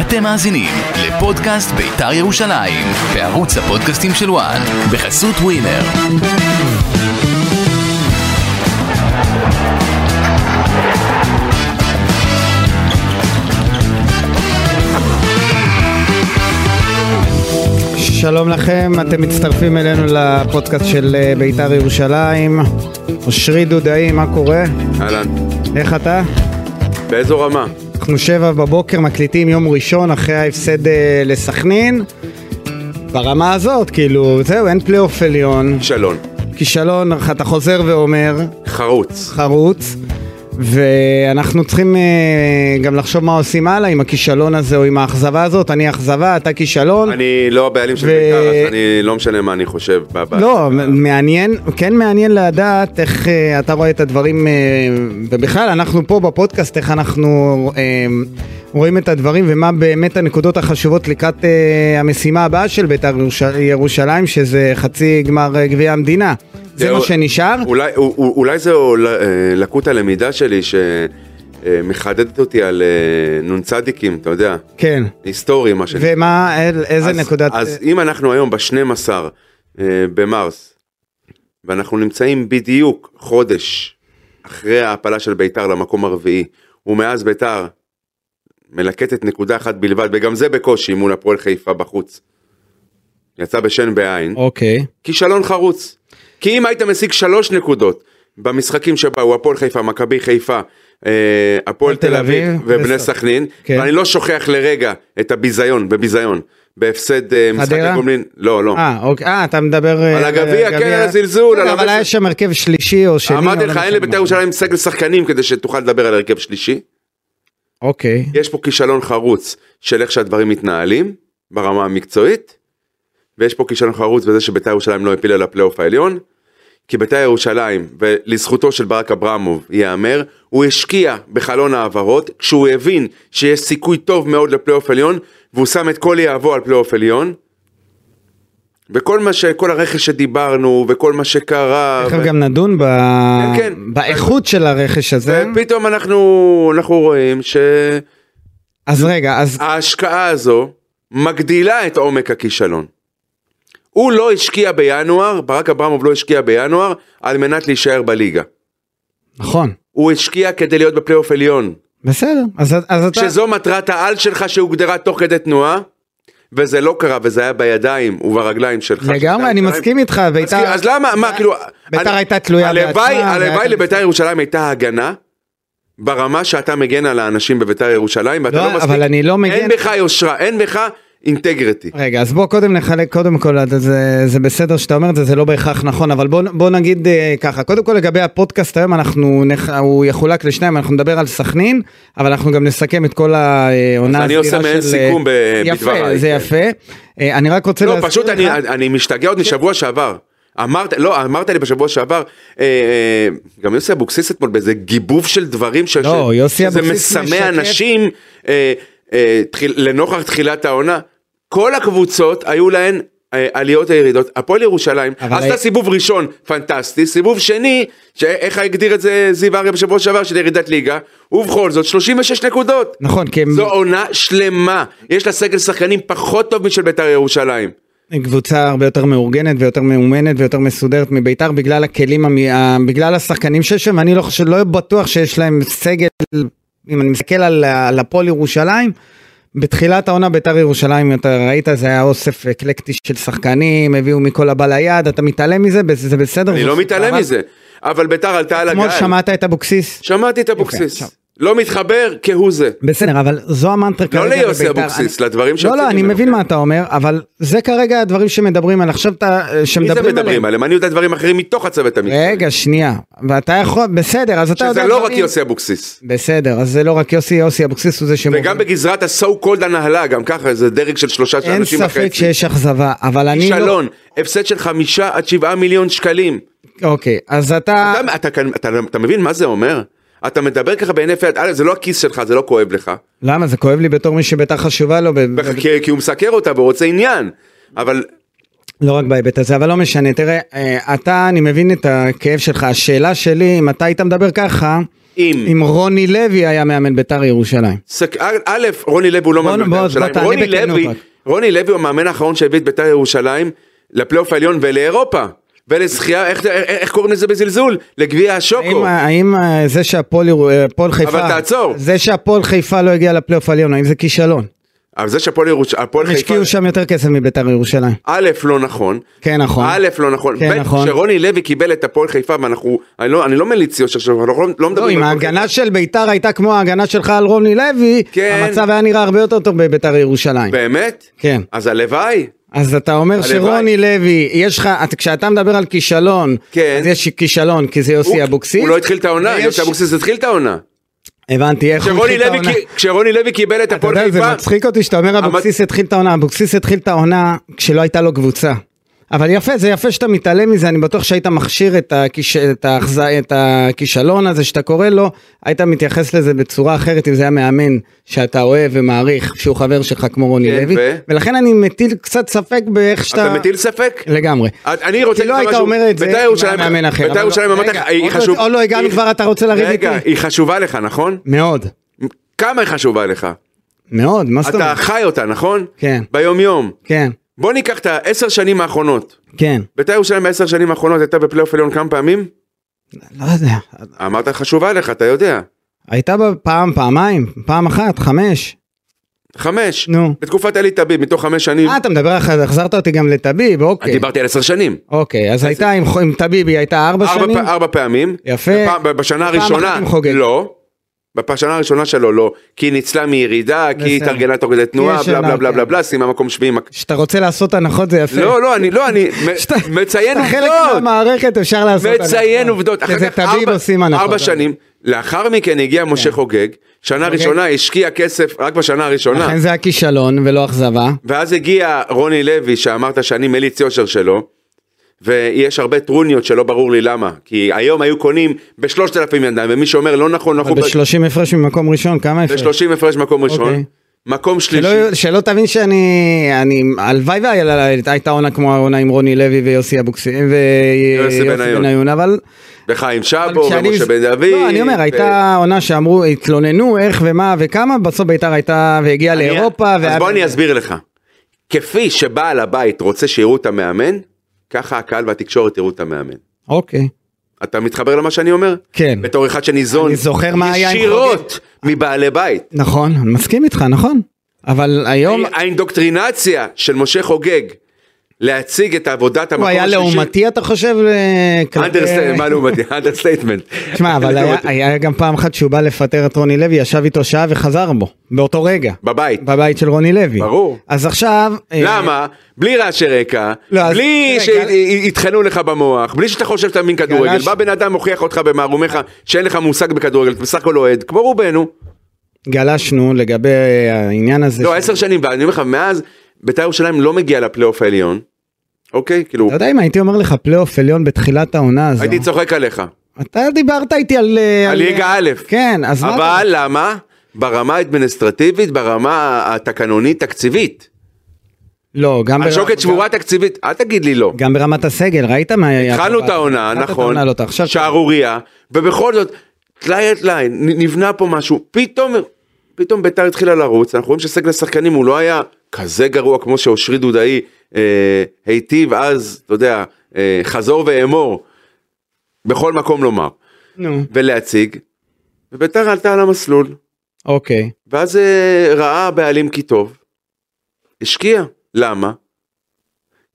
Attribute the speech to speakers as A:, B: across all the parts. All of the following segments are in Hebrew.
A: אתם מאזינים לפודקאסט בית"ר ירושלים, בערוץ הפודקאסטים של וואן, בחסות ווינר.
B: שלום לכם, אתם מצטרפים אלינו לפודקאסט של אה, בית"ר ירושלים. אושרי דודאי, מה קורה?
C: אהלן,
B: איך אתה?
C: באיזו רמה?
B: אנחנו שבע בבוקר מקליטים יום ראשון אחרי ההפסד אה, לסכנין. ברמה הזאת, כאילו, זהו, אין פלייאוף עליון.
C: כישלון,
B: כישלון, אתה חוזר ואומר,
C: חרוץ.
B: חרוץ. ואנחנו צריכים אה, גם לחשוב מה עושים הלאה עם הכישלון הזה או עם האכזבה הזאת. אני אכזבה, אתה כישלון.
C: אני לא הבעלים של
B: ו-
C: בית"ר, אז אני לא משנה מה אני חושב. בבעיה.
B: לא, מעניין, כן מעניין לדעת איך אה, אתה רואה את הדברים, אה, ובכלל אנחנו פה בפודקאסט, איך אנחנו אה, רואים את הדברים ומה באמת הנקודות החשובות לקראת אה, המשימה הבאה של בית"ר ירוש- ירושלים, שזה חצי גמר אה, גביע המדינה. זה
C: זהו.
B: מה שנשאר?
C: אולי, או- או- אולי זו אה, לקות הלמידה שלי שמחדדת אותי על אה, נ"צ, אתה יודע,
B: כן.
C: היסטורי מה שנקרא.
B: ומה, אל- איזה
C: אז-
B: נקודת...
C: אז אם אנחנו היום ב-12 אה, במרס, ואנחנו נמצאים בדיוק חודש אחרי ההעפלה של ביתר למקום הרביעי, ומאז ביתר מלקטת נקודה אחת בלבד, וגם זה בקושי מול הפועל חיפה בחוץ. יצא בשן בעין.
B: אוקיי.
C: כישלון חרוץ. כי אם היית משיג שלוש נקודות במשחקים שבאו הפועל חיפה, מכבי חיפה, אה, הפועל
B: תל
C: תל אביב
B: אביב
C: ובני
B: וסכ-
C: סכנין,
B: כן.
C: ואני לא שוכח לרגע את הביזיון, בביזיון, בהפסד אה, משחק
B: חדרה?
C: הגומלין, לא, לא.
B: אה, אוקיי, אה, אתה מדבר... אה,
C: על הגביע, כן, על הזלזול,
B: כן,
C: על
B: אבל
C: המס-
B: היה שם הרכב שלישי או שני.
C: אמרתי
B: אבל
C: לך,
B: לא
C: אין
B: משנה
C: לבית"ר
B: מה.
C: ירושלים סגל שחקנים כדי שתוכל לדבר על הרכב שלישי.
B: אוקיי.
C: יש פה כישלון חרוץ של איך שהדברים מתנהלים ברמה המקצועית, ויש פה כישלון חרוץ בזה שבית"ר ירושלים לא הפילה לפלייאוף העליון, כי בית"ר ירושלים, ולזכותו של ברק אברמוב ייאמר, הוא השקיע בחלון העברות, כשהוא הבין שיש סיכוי טוב מאוד לפלייאוף עליון, והוא שם את כל יהבו על פלייאוף עליון. וכל מה ש... כל הרכש שדיברנו, וכל מה שקרה...
B: תכף
C: ו-
B: גם נדון ב...
C: כן, כן.
B: באיכות של הרכש הזה.
C: ופתאום אנחנו, אנחנו רואים ש...
B: אז רגע, אז
C: ההשקעה הזו מגדילה את עומק הכישלון. הוא לא השקיע בינואר, ברק אברמוב לא השקיע בינואר על מנת להישאר בליגה.
B: נכון,
C: הוא השקיע כדי להיות בפלייאוף עליון.
B: בסדר. אז, אז אתה...
C: שזו מטרת העל שלך שהוגדרה תוך כדי תנועה, וזה לא קרה, וזה היה בידיים וברגליים שלך.
B: לגמרי, אני מסכים איתך, ביתר...
C: בית"ר... אז למה, מה, כאילו...
B: בית"ר
C: אני-
B: הייתה תלויה
C: הלוואי-
B: בעצמה, והיה
C: הלוואי
B: את
C: לבית"ר ירושלים הייתה הגנה. ברמה שאתה מגן על האנשים בבית"ר ירושלים, ואתה
B: לא,
C: לא, מספיק,
B: אבל אני לא מגן-
C: אין בך יושרה, אין בך אינטגריטי.
B: רגע, אז בוא קודם נחלק, קודם כל, אז זה, זה בסדר שאתה אומר את זה, זה לא בהכרח נכון, אבל בוא, בוא נגיד אה, ככה, קודם כל לגבי הפודקאסט היום, אנחנו, נח, הוא יחולק לשניים, אנחנו נדבר על סכנין, אבל אנחנו גם נסכם את כל העונה
C: אז אני עושה
B: הסדירה
C: מעין
B: של, אה,
C: סיכום ב-
B: יפה,
C: בדבריי,
B: זה
C: כן.
B: יפה. אה, אני רק רוצה
C: לא,
B: להזכיר
C: פשוט
B: לך-
C: אני, אני משתגע עוד משבוע שעבר. אמרת, לא, אמרת לי בשבוע שעבר, אה, אה, גם יוסי אבוקסיס אתמול באיזה גיבוב של דברים ש...
B: לא,
C: ש-
B: יוסי
C: שזה
B: אבוקסיס משקף-
C: מסמא אנשים אה, אה, תחיל, לנוכח תחילת העונה. כל הקבוצות היו להן אה, עליות וירידות. הפועל ירושלים
B: אבל
C: עשתה
B: ה-
C: סיבוב ראשון פנטסטי, סיבוב שני, ש- איך הגדיר את זה זיו אריה בשבוע שעבר של ירידת ליגה, ובכל זאת 36 נקודות.
B: נכון, כי הם
C: זו עונה שלמה, יש לה סגל שחקנים פחות טוב משל בית"ר ירושלים.
B: קבוצה הרבה יותר מאורגנת ויותר מאומנת ויותר מסודרת מביתר בגלל הכלים, המ- ה- בגלל השחקנים שיש שם, אני לא, חושב- לא בטוח שיש להם סגל, אם אני מסתכל על, על הפועל ירושלים, בתחילת העונה ביתר ירושלים, אתה ראית, זה היה אוסף אקלקטי של שחקנים, הביאו מכל הבא ליד, אתה מתעלם מזה, בס- זה בסדר.
C: אני
B: זו
C: לא
B: סדרה,
C: מתעלם
B: אבל
C: מזה, אבל ביתר עלתה על הגל.
B: אתמול שמעת את אבוקסיס?
C: שמעתי את אבוקסיס.
B: עכשיו.
C: לא מתחבר כהוא זה.
B: בסדר, אבל זו המנטרה
C: לא
B: כרגע
C: ליוסי
B: בביתר.
C: אבוקסיס, לדברים כן.
B: לא, לא,
C: שיוצאים
B: אני
C: ממנו.
B: מבין מה אתה אומר, אבל זה כרגע הדברים שמדברים על עכשיו, אתה-
C: מי זה
B: שמדברים עליהם.
C: מדברים עליהם? אני יודע דברים אחרים מתוך הצוות המקצועי.
B: רגע, שנייה. ואתה יכול, בסדר, אז אתה יודע...
C: שזה לא רק
B: דברים-
C: יוסי אבוקסיס.
B: בסדר, אז זה לא רק יוסי, יוסי אבוקסיס הוא זה שמוביל.
C: וגם בגזרת ה-so called הנהלה, גם ככה זה דרג של שלושה של
B: אין
C: אנשים
B: ספק
C: וחצי.
B: שיש אכזבה, אבל אני לא...
C: כישלון, הפסד של חמישה עד שבעה מיליון שקלים.
B: אוקיי, אז אתה...
C: אתה- אתה כאן- אתה- אתה מבין מה זה אומר? אתה מדבר ככה בהינף יד, א', זה לא הכיס שלך, זה לא כואב לך.
B: למה? זה כואב לי בתור מי שביתר חשובה לו, ב- ב-
C: כי- כי הוא מסקר אותה ורוצה עניין. אבל
B: לא רק בהיבט הזה, אבל לא משנה. תראה, אה, אתה, אני מבין את הכאב שלך. השאלה שלי, אם אתה היית מדבר ככה...
C: אם
B: אם רוני לוי היה מאמן ביתר ירושלים.
C: סק... א- א', רוני לוי הוא לא
B: בוא-
C: מאמן בית"ר
B: בוא-
C: ירושלים.
B: בוא תענה
C: רוני
B: בכנות
C: לוי,
B: רק.
C: רוני לוי הוא המאמן האחרון שהביא את בית"ר ירושלים לפלייאוף העליון ולאירופה. ולזכייה, איך, איך, איך קוראים לזה בזלזול? לגביע השוקו.
B: האם, האם אה, זה שהפועל ירו- אה, הפועל חיפה,
C: תעצור.
B: זה שהפועל חיפה לא הגיע לפלייאוף העליון, האם זה כישלון?
C: אבל זה שהפועל ירוש... הפועל
B: הם
C: חיפה,
B: השקיעו שם יותר כסף מביתר ירושלים.
C: א', לא נכון.
B: כן נכון.
C: א', לא נכון.
B: כן,
C: ב',
B: נכון.
C: שרוני לוי קיבל את הפועל חיפה, ואנחנו, אני לא, אני לא מליץ יושר עכשיו, אנחנו לא, לא
B: לא,
C: מדברים
B: אם
C: הפועל
B: ההגנה של ביתר הייתה כמו ההגנה שלך על רוני לוי,
C: כן.
B: המצב היה נראה הרבה יותר טוב בביתר ירושלים.
C: חיפה. באמת?
B: כן.
C: אז הלוואי.
B: אז אתה אומר
C: הלוואי.
B: שרוני לוי, יש לך, את- כשאתה מדבר על כישלון,
C: כן.
B: אז יש כישלון כי זה
C: הוא-
B: יוסי אבוקסיס.
C: הוא לא התחיל את העונה,
B: ויש-
C: יוסי אבוקסיס התחיל את העונה.
B: הבנתי, איך הוא
C: כשרוני
B: התחיל את
C: לוי
B: העונה.
C: קי- כשרוני לוי קיבל את
B: אתה
C: הפועל
B: יודע, זה
C: חיפה,
B: מצחיק אותי שאתה אומר אבוקסיס התחיל את העונה, אבוקסיס התחיל את העונה כשלא הייתה לו קבוצה. אבל יפה, זה יפה שאתה מתעלם מזה, אני בטוח שהיית מכשיר את, הכיש... את, ההחז... את הכישלון הזה שאתה קורא לו, היית מתייחס לזה בצורה אחרת אם זה היה מאמן שאתה אוהב ומעריך, שהוא חבר שלך כמו רוני
C: כן,
B: לוי,
C: ו-
B: ולכן אני מטיל קצת ספק באיך שאתה...
C: אתה מטיל ספק?
B: לגמרי.
C: את- אני רוצה
B: כי לא
C: להגיד לך
B: היית
C: משהו,
B: אומר את זה,
C: בית"ר
B: אם היה
C: ירושלים-
B: מאמן אחר,
C: בית"ר
B: אבל לא-
C: ירושלים אמרת לך,
B: רגע,
C: היא
B: עוד לא-
C: חשובה,
B: עוד לא הגענו
C: היא-
B: כבר, אתה רוצה לריב
C: רגע,
B: איתי?
C: היא חשובה לך נכון?
B: מאוד,
C: כמה היא חשובה לך?
B: מאוד, מה זאת
C: אתה
B: אומרת?
C: חי אותה נכון?
B: כן.
C: ביום יום.
B: כן,
C: בוא ניקח את העשר שנים האחרונות.
B: כן,
C: בית"ר ירושלים בעשר שנים האחרונות הייתה בפלייאוף עליון כמה פעמים?
B: לא יודע,
C: אמרת חשובה לך אתה יודע.
B: הייתה בה פעם, פעמיים, פעם אחת, חמש.
C: חמש.
B: נו.
C: בתקופת אלי תביב מתוך חמש שנים.
B: אה, אתה מדבר אחרי, החזרת אותי גם לטביב,
C: אני
B: אוקיי.
C: דיברתי על עשר שנים.
B: אוקיי, אז הייתה עם חו- עם טביב, היא הייתה ארבע
C: ארבע
B: שנים?
C: פ- ארבע פעמים.
B: יפה.
C: בפעם- בשנה
B: פעם
C: הראשונה.
B: אחת עם חוגג.
C: לא. בשנה הראשונה שלו לא. כי היא ניצלה מירידה, כי היא
B: בסדר.
C: התארגנה תוך כדי תנועה,
B: יש
C: בלה
B: שנה,
C: בלה בלה
B: כן.
C: בלה בלה, סיימה מקום שביעי. מק-
B: כשאתה רוצה לעשות הנחות זה יפה.
C: לא, לא, אני לא, אני מ-
B: כשאתה-
C: מציין
B: כשאתה חלק
C: עובדות.
B: מהמערכת אפשר לעשות הנחות.
C: מציין עובדות. אחר
B: כשזה
C: כך
B: טביב
C: ארבע-
B: עושים כן. הנחות.
C: ארבע שנים. לאחר מכן הגיע משה חוגג. שנה ראשונה השקיע כסף רק בשנה הראשונה.
B: לכן זה היה כישלון ולא אכזבה.
C: ואז הגיע רוני לוי שאמרת שאני מליץ יושר שלו ויש הרבה טרוניות שלא ברור לי למה כי היום היו קונים בשלושת אלפים ידיים ומי שאומר לא נכון
B: אבל
C: אנחנו
B: ב-30 הפרש ממקום ראשון, כמה הפרש?
C: ב-30 הפרש מקום ראשון
B: אוקיי.
C: מקום שלישי
B: שלא, שלא תבין שאני, אני, הלוואי והייתה עונה כמו העונה עם רוני לוי ויוסי אבוקסיס ויוסי
C: בניון.
B: בניון, אבל
C: וחיים
B: אבל
C: שבו
B: כשאני-
C: ומשה בן דוד
B: לא, אני אומר,
C: ו-
B: הייתה עונה שאמרו, התלוננו איך ומה וכמה, בסוף ביתר הייתה והגיעה
C: אני-
B: לאירופה.
C: אז
B: והיה-
C: בוא אני אסביר לך כפי שבעל הבית רוצה שיראו את המאמן ככה הקהל והתקשורת יראו את המאמן
B: אוקיי.
C: אתה מתחבר למה שאני אומר?
B: כן.
C: בתור אחד שניזון
B: אני זוכר מה היה עם
C: ישירות מבעלי בית
B: נכון, אני מסכים איתך, נכון. אבל היום
C: האינדוקטרינציה של משה חוגג להציג את עבודת המקום
B: הוא היה
C: השלישי.
B: לעומתי, אתה חושב? אה, כלפי-
C: אנדרסטייט, מה לעומתי? אנדרסטייטמנט.
B: תשמע, אבל היה- היה גם פעם אחת שהוא בא לפטר את רוני לוי, ישב איתו שעה וחזר בו, באותו רגע,
C: בבית.
B: בבית של רוני לוי.
C: ברור.
B: אז עכשיו... אה,
C: למה? בלי רעשי רקע,
B: לא, אז-
C: בלי
B: רגע.
C: שיטחנו לך במוח, בלי שאתה חושב שאתה מבין כדורגל,
B: גלש-
C: בא בן אדם מוכיח אותך במערומיך שאין לך מושג בכדורגל, אתה בסך הכל אוהד, כמו רובנו.
B: גלשנו לגבי אה, העניין הזה.
C: לא,
B: ש-
C: עשר שנים, ואני אומר לך, מאז בית"ר ירושלים לא מגיע לפלייאוף העליון, אוקיי? כאילו,
B: אתה יודע אם הייתי אומר לך פלייאוף עליון בתחילת העונה הזו.
C: הייתי צוחק עליך.
B: אתה דיברת איתי על... אה,
C: על ליגה א'.
B: כן, אז מה...
C: אבל למה? ברמה האדמיניסטרטיבית, ברמה התקנונית תקציבית.
B: לא, גם...
C: השוקת
B: ברמת-
C: שבורה תקציבית, אל תגיד לי לא.
B: גם ברמת הסגל, ראית מה היה...
C: התחלנו
B: פה?
C: את העונה,
B: התחלת את
C: נכון,
B: העונה, לא, אתה עכשיו...
C: שערורייה, ובכל זאת, טלאי על טלאי, נ- נבנה פה משהו, פתאום, פתאום ביתר התחילה לרוץ, אנחנו רואים שסגל השחקנים הוא לא היה כזה גרוע כמו שאושרי דודאי אה, היטיב אז, אתה יודע, אה, חזור ואמור, בכל מקום לומר,
B: נו,
C: ולהציג, וביתר עלתה על המסלול,
B: אוקיי.
C: ואז אה, ראה הבעלים כי טוב, השקיע. למה?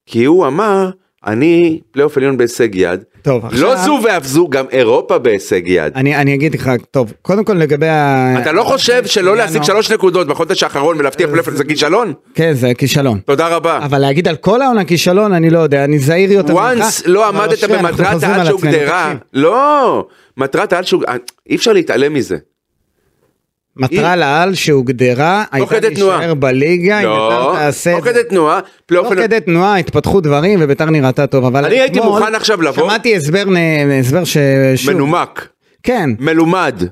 C: כי הוא אמר, אני פלייאוף עליון בהישג יד.
B: טוב, עכשיו...
C: לא זו ואף זו, גם אירופה בהישג יד.
B: אני, אני אגיד לך, טוב, קודם כל לגבי ה...
C: אתה לא חושב שלא להשיג
B: ינואר.
C: שלוש נקודות בחודש האחרון
B: אה,
C: ולהבטיח פלייאוף עליון זה כישלון?
B: כן, זה כישלון.
C: תודה רבה.
B: אבל להגיד על כל העונה כישלון, אני לא יודע, אני זהיר יותר
C: once לא
B: אבל
C: עמדת
B: אושרי, אנחנו
C: במטרת
B: חוזרים
C: העל
B: על עצמנו,
C: שהוגדרה.
B: תקשיב.
C: לא, מטרת העל שהוגדרה, אי אפשר להתעלם מזה.
B: מטרה לעל שהוגדרה,
C: תוך
B: הייתה
C: כדי תנועה.
B: להישאר בליגה, אם
C: לא,
B: בית"ר תעשה
C: תוך
B: את זה.
C: כדי תנועה, פלייאוף
B: תוך
C: עליון.
B: כדי תנועה התפתחו דברים וביתר נראתה טוב, אבל
C: אני הייתי
B: אתמול
C: מוכן עכשיו לבוא-
B: שמעתי הסבר, נ- הסבר ש... שוב,
C: מנומק,
B: כן,
C: מלומד,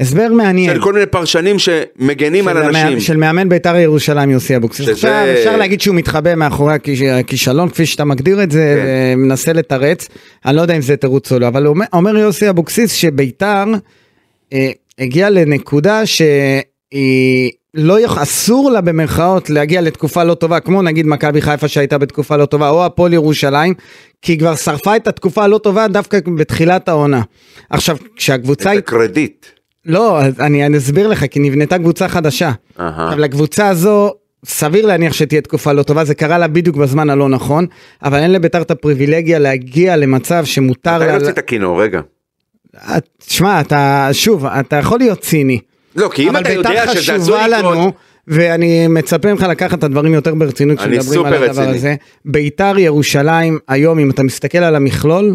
B: הסבר מעניין.
C: של כל מיני פרשנים שמגנים על
B: כן. של המאמן-
C: אנשים.
B: של מאמן ביתר ירושלים יוסי אבוקסיס.
C: שזה-
B: עכשיו אפשר להגיד שהוא מתחבא מאחורי הכיש- הכישלון כפי שאתה מגדיר את זה,
C: כן.
B: מנסה לתרץ, אני לא יודע אם זה תירוץ או לא, אבל אומר- אומר יוסי אבוקסיס שביתר אה, הגיעה לנקודה שהיא לא יכ... אסור לה במרכאות להגיע לתקופה לא טובה כמו נגיד מכבי חיפה שהייתה בתקופה לא טובה או הפועל ירושלים כי היא כבר שרפה את התקופה הלא טובה דווקא בתחילת העונה. עכשיו כשהקבוצה
C: את
B: היא
C: הקרדיט.
B: לא אז אני, אני אסביר לך כי נבנתה קבוצה חדשה.
C: אהה.
B: עכשיו לקבוצה הזו סביר להניח שתהיה תקופה לא טובה זה קרה לה בדיוק בזמן הלא נכון אבל אין לביתר את הפריבילגיה להגיע למצב שמותר
C: מתי
B: לה.
C: יוצא את הכינור רגע.
B: את- שמע אתה שוב אתה יכול להיות ציני.
C: לא כי אם
B: אבל
C: אתה
B: בית"ר
C: יודע שזה עשוי
B: חשובה
C: לקרות.
B: לנו, ואני מצפה ממך לקחת את הדברים יותר ברצינות
C: אני
B: כשמדברים על
C: סופר
B: הדבר
C: רציני.
B: הזה. ביתר ירושלים היום, אם אתה מסתכל על המכלול,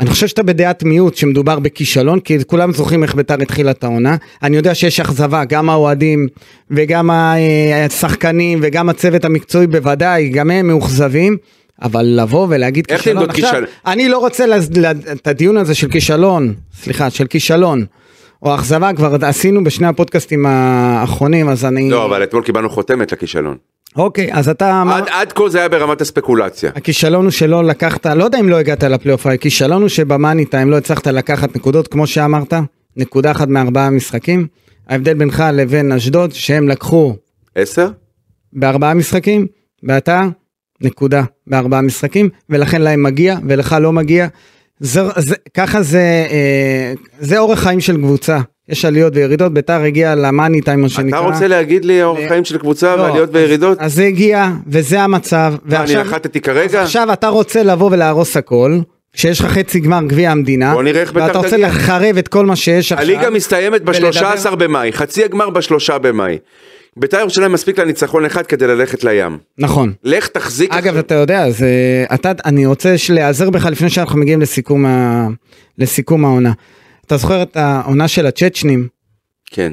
B: אני חושב שאתה בדעת מיעוט שמדובר בכישלון, כי כולם זוכרים איך ביתר התחילה את העונה. אני יודע שיש אכזבה, גם האוהדים וגם אה, השחקנים וגם הצוות המקצועי בוודאי, גם הם מאוכזבים. אבל לבוא ולהגיד
C: איך
B: כישלון,
C: תמדוד
B: עכשיו,
C: כישלון?
B: אני לא רוצה לז- ל- את הדיון הזה של כישלון, סליחה, של כישלון, או אכזבה, כבר עשינו בשני הפודקאסטים האחרונים, אז אני...
C: לא אבל אתמול קיבלנו חותמת לכישלון.
B: אוקיי, אז אתה... אמר-
C: עד- עד כה זה היה ברמת הספקולציה.
B: הכישלון הוא שלא לקחת, לא יודע אם לא הגעת לפלייאוף, הכישלון הוא שבמאני טיים לא הצלחת לקחת נקודות, כמו שאמרת, נקודה אחת מארבעה משחקים. ההבדל בינך לבין אשדוד, שהם לקחו
C: עשר?
B: בארבעה משחקים, ואתה נקודה בארבעה משחקים, ולכן להם מגיע ולך לא מגיע. זה, זה, ככה זה, אה, זה אורח חיים של קבוצה. יש עליות וירידות, ביתר הגיעה למאני טיים, מה
C: אתה
B: שנקרא.
C: רוצה להגיד לי אורח
B: אה,
C: חיים של קבוצה
B: לא,
C: ועליות
B: אז-
C: וירידות?
B: אז זה הגיע, וזה המצב,
C: מה, אני
B: ועכשיו
C: נחתתי כרגע?
B: עכשיו אתה רוצה לבוא ולהרוס הכל, כשיש לך חצי גמר גביע המדינה,
C: בוא נראה איך ביתר
B: ואתה רוצה
C: תגיע.
B: לחרב את כל מה שיש עכשיו.
C: הליגה מסתיימת
B: ולדבר-
C: ב-13 במאי, חצי הגמר ב-3 במאי. בית"ר ירושלים מספיק לה ניצחון אחד כדי ללכת לים.
B: נכון.
C: לך תחזיק...
B: אגב אתה יודע זה אתה אני רוצה ש- להיעזר בך לפני שאנחנו מגיעים לסיכום ה... לסיכום העונה. אתה זוכר את העונה של הצ'צ'נים
C: כן.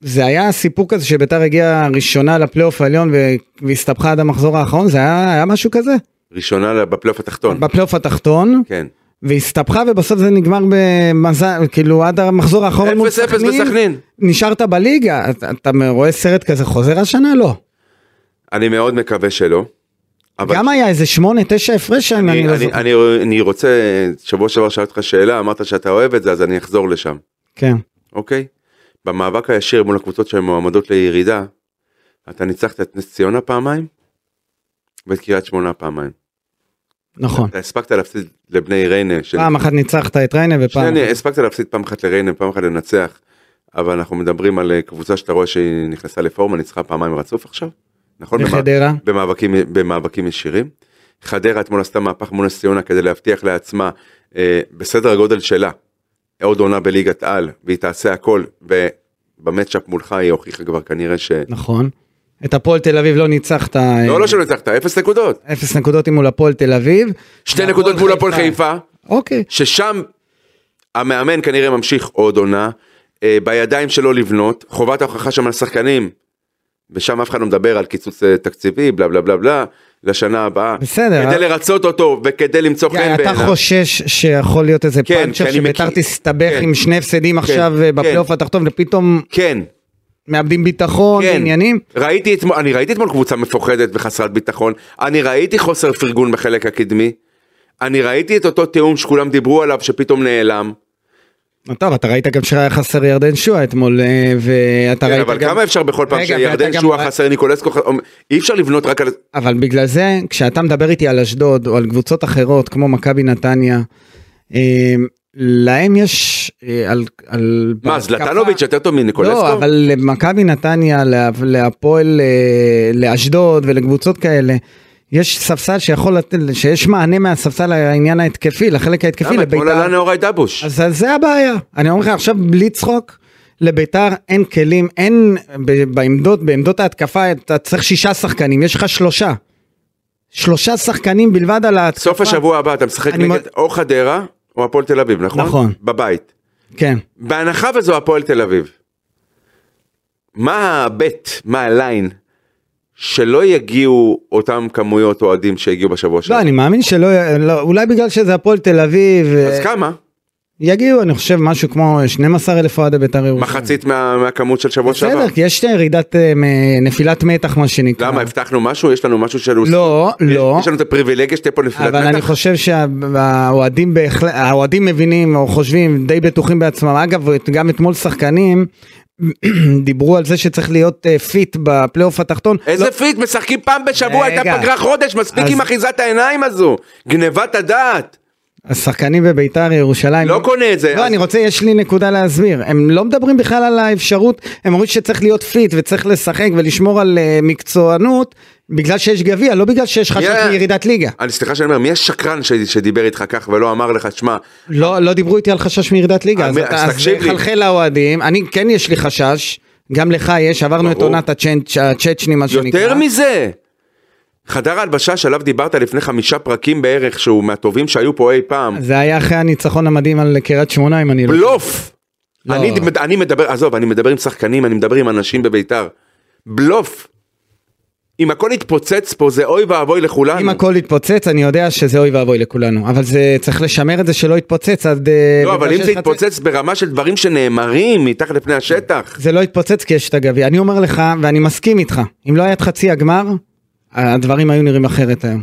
B: זה היה סיפור כזה שביתר הגיעה ראשונה לפלייאוף העליון ו... והסתבכה עד המחזור האחרון זה היה, היה משהו כזה
C: ראשונה בפלייאוף התחתון.
B: בפלייאוף התחתון
C: כן.
B: והסתבכה ובסוף זה נגמר במזל כאילו עד המחזור האחרון מול
C: 0-0 בסכנין.
B: נשארת בליגה אתה, אתה רואה סרט כזה חוזר השנה לא
C: אני מאוד מקווה שלא. אבל
B: גם היה איזה שמונה תשע הפרש אם אני
C: אני,
B: לא
C: אני,
B: זוכר.
C: אני, אני רוצה, שבוע שעבר שאלתי אותך שאלה, אמרת שאתה אוהב את זה, אז אני אחזור לשם,
B: כן.
C: אוקיי? במאבק הישיר מול הקבוצות שהן מועמדות לירידה, אתה ניצחת את נס ציונה פעמיים, ואת קריית שמונה פעמיים.
B: נכון.
C: אתה הספקת להפסיד לבני ריינה. של-
B: פעם אחת ניצחת את ריינה ופעם
C: שנייה,
B: אחת.
C: אני הספקת להפסיד פעם אחת לריינה, פעם אחת לנצח, אבל אנחנו מדברים על אה, קבוצה שאתה רואה שהיא נכנסה לפורמה, ניצחה פעמיים רצוף עכשיו, נכון? במא-
B: וחדרה.
C: במאבקים, במאבקים ישירים. חדרה אתמול עשתה מהפך מול נס ציונה כדי להבטיח לעצמה אה, בסדר הגודל שלה עוד עונה בליגת על והיא תעשה הכל ובמצ'אפ מולך היא הוכיחה כבר כנראה ש...
B: נכון. את הפועל תל אביב לא ניצחת.
C: לא לא שלא ניצחת, אפס נקודות.
B: אפס נקודות עם מול הפועל תל אביב.
C: שתי
B: והפועל
C: נקודות מול הפועל חיפה.
B: אוקיי.
C: ששם המאמן כנראה ממשיך עוד עונה, אה, בידיים שלו לבנות, חובת ההוכחה שם על השחקנים, ושם אף אחד לא מדבר על קיצוץ אה, תקציבי, בלה בלה בלה בלה, לשנה הבאה.
B: בסדר.
C: כדי לרצות אותו וכדי למצוא
B: גיא,
C: חן
B: אתה
C: בעיניו.
B: חושש שיכול להיות איזה
C: כן,
B: פאנצ'ר
C: כי אני
B: שביתר
C: מכיר-
B: תסתבך
C: כן.
B: עם שני הפסדים עכשיו אה,
C: כן.
B: בפלייאוף התחתון ופתאום
C: כן,
B: מאבדים ביטחון
C: כן.
B: ועניינים?
C: ראיתי אתמול, אני ראיתי אתמול קבוצה מפוחדת וחסרת ביטחון, אני ראיתי חוסר פרגון בחלק הקדמי, אני ראיתי את אותו תיאום שכולם דיברו עליו שפתאום נעלם.
B: לא, טוב אתה ראית גם שהיה חסר ירדן שואה אתמול אה, ואתה
C: כן,
B: ראית
C: אבל
B: גם-
C: כמה אפשר בכל פעם
B: רגע, ואתה
C: שירדן
B: גם
C: שועה
B: ראית-
C: חסר ניקולסקו, ח- אי אפשר לבנות רק על...
B: אבל בגלל זה כשאתה מדבר איתי על אשדוד או על קבוצות אחרות כמו מכבי נתניה אה, להם יש אה, על על
C: מה,
B: בהתקפה-
C: זלטנוביץ' יותר טוב מניקולסקו?
B: לא אבל למכבי נתניה לה- להפועל אה, לאשדוד ולקבוצות כאלה. יש ספסל שיכול לתת, שיש מענה מהספסל לעניין ההתקפי, לחלק ההתקפי,
C: למה? אתמול עלה
B: לביתר.
C: נאורי דבוש.
B: אז אז זה הבעיה. אני אומר לך עכשיו בלי צחוק, לביתר אין כלים, אין ב- בעמדות, בעמדות ההתקפה אתה צריך שישה שחקנים, יש לך שלושה. שלושה שחקנים בלבד על ההתקפה.
C: סוף השבוע הבא אתה משחק
B: אני
C: נגד או חדרה או הפועל תל אביב, נכון?
B: נכון.
C: בבית.
B: כן.
C: בהנחה וזו הפועל תל אביב. מה הבט, מה הליין, שלא יגיעו אותם כמויות אוהדים שהגיעו בשבוע
B: לא,
C: שעבר?
B: אני מאמין שלא, לא, אולי בגלל שזה הפועל תל אביב.
C: אז
B: אה,
C: כמה?
B: יגיעו, אני חושב, משהו כמו 12 אלף אוהדי בית"ר ירושלים.
C: מחצית מה- מהכמות של שבוע שעבר.
B: בסדר, כי יש ירידת, אה, מ- נפילת מתח, מה שנקרא.
C: למה הבטחנו משהו? יש לנו משהו של...
B: לא, לא.
C: יש לנו את הפריבילגיה שתהיה פה נפילת
B: אבל אני
C: מתח?
B: חושב שהאוהדים בהחלט, האוהדים מבינים או חושבים די בטוחים בעצמם. אגב, גם אתמול שחקנים דיברו על זה שצריך להיות אה, פיט בפלייאוף התחתון.
C: איזה
B: לא-
C: פיט, משחקים פעם בשבוע,
B: רגע.
C: הייתה פגרה חודש, מספיק
B: אז-
C: עם אחיזת העיניים הזו. גנבת הדעת.
B: השחקנים בביתר ירושלים.
C: לא קונה את זה.
B: לא,
C: אז-
B: אני רוצה, יש לי נקודה להסביר. הם לא מדברים בכלל על האפשרות, הם אומרים שצריך להיות פיט וצריך לשחק ולשמור על אה, מקצוענות, בגלל שיש גביע, לא בגלל שיש חשש
C: Yeah.
B: מירידת ליגה.
C: אני סליחה שאני אומר, מי השקרן ש- שדיבר איתך כך ולא אמר לך, שמע,
B: לא, לא דיברו איתי על חשש מירידת ליגה,
C: אה,
B: אז
C: מי-
B: אתה-
C: אז
B: אז
C: תקשיב לי.
B: חלחל לאוהדים, אני כן יש לי חשש, גם לך יש, עברנו את
C: ברור.
B: עונת הצ'נ- הצ'צ'ני מה שנקרא.
C: יותר מזה. חדר ההלבשה שעליו דיברת לפני חמישה פרקים בערך, שהוא מהטובים שהיו פה אי פעם.
B: זה היה אחרי הניצחון המדהים על קריית שמונה, אם אני לא...
C: בלוף.
B: לא.
C: אני, אני מדבר, עזוב, אני מדבר עם שחקנים, אני מדבר עם אנשים בביתר. בלוף. אם הכל יתפוצץ פה זה אוי ואבוי לכולנו.
B: אם הכל יתפוצץ, אני יודע שזה אוי ואבוי לכולנו, אבל זה צריך לשמר את זה שלא יתפוצץ עד... אה,
C: לא, אבל
B: בגלל
C: אם זה
B: שיש חצי-
C: יתפוצץ ברמה של דברים שנאמרים מתחת לפני השטח.
B: זה לא יתפוצץ כי יש את הגביע. אני אומר לך, ואני מסכים איתך, אם לא היה את חצי הגמר, הדברים היו נראים אחרת היום.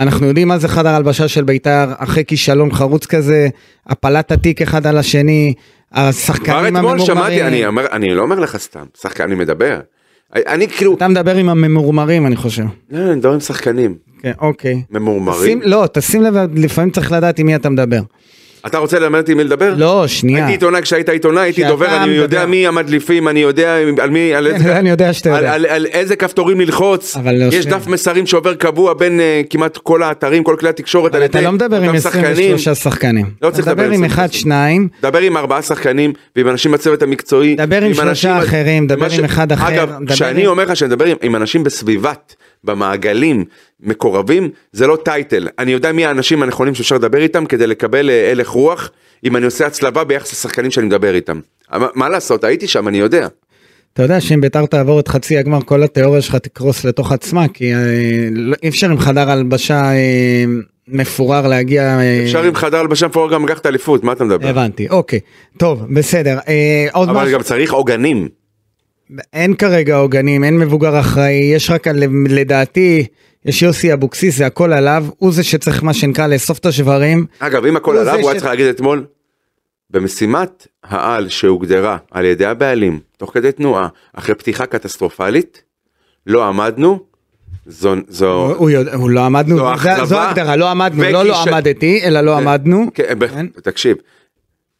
B: אנחנו יודעים מה זה חדר הלבשה של בית"ר, אחרי כישלון חרוץ כזה, הפלת התיק אחד על השני,
C: כבר
B: השחקנים
C: אתמול שמעתי, אני,
B: הממורמרים.
C: אומר, אני לא אומר לך סתם, שחקן, אני מדבר. אני כאילו,
B: אתה מדבר עם הממורמרים, אני חושב.
C: לא, אני מדבר עם שחקנים
B: כן, אוקיי.
C: ממורמרים.
B: שים, לא, תשים לב, לפעמים צריך לדעת עם מי אתה מדבר.
C: אתה רוצה ללמד אותי מי לדבר?
B: לא, שנייה.
C: הייתי עיתונאי כשהיית עיתונאי, הייתי
B: כשאתה
C: דובר, אני
B: מדבר.
C: יודע מי המדליפים, אני יודע על מי, על איזה...
B: כן, אני יודע שאתה
C: על,
B: יודע.
C: על, על איזה כפתורים ללחוץ,
B: אבל לא
C: יש
B: שנייה.
C: דף מסרים שעובר קבוע בין אה, כמעט כל האתרים, כל כלי התקשורת,
B: אבל אתה לא מדבר עם
C: אותם שחקנים.
B: 23 שחקנים.
C: לא צריך
B: אתה
C: לדבר עם
B: מדבר עם
C: 23.
B: אחד, שניים,
C: דבר עם ארבעה שחקנים ועם אנשים בצוות המקצועי.
B: דבר עם שלושה
C: אנשים-
B: אחרים, דבר
C: ומה
B: עם אחד אחר,
C: אגב,
B: דבר
C: כשאני
B: עם-
C: אומר לך שאני מדבר עם- עם אנשים בסביבת, במעגלים, מקורבים, זה לא טייטל. אני יודע מי האנשים הנכונים שאפשר לדבר איתם כדי לקבל אה, הלך רוח, אם אני עושה הצלבה ביחס לשחקנים שאני מדבר איתם. אבל מה לעשות, הייתי שם, אני יודע.
B: אתה יודע שאם ביתר תעבור את חצי הגמר כל התיאוריה שלך תקרוס לתוך עצמה כי אה, לא- אי אפשר עם חדר הלבשה אה, מפורר להגיע. אה,
C: אפשר עם חדר הלבשה מפואר גם לקחת אליפות, מה אתה מדבר?
B: הבנתי אוקיי טוב בסדר אה, עוד
C: אבל
B: משהו
C: גם צריך עוגנים.
B: אין כרגע עוגנים אין מבוגר אחראי יש רק על- לדעתי יש יוסי אבוקסיס זה הכל עליו הוא זה שצריך מה שנקרא לאסוף את השברים
C: אגב, אם הכל
B: הוא
C: עליו,
B: זה
C: הוא
B: ש-
C: היה צריך להגיד אתמול, במשימת העל שהוגדרה על ידי הבעלים, תוך כדי תנועה, אחרי פתיחה קטסטרופלית, לא עמדנו, זו...
B: הוא-
C: זו...
B: הוא יודע- הוא לא עמדנו
C: זו
B: זה- זו
C: אכזבה
B: הגדרה לא עמדנו לא לא
C: וכישלון.
B: עמדתי אלא לא עמדנו
C: כן, ב-
B: כן.
C: תקשיב,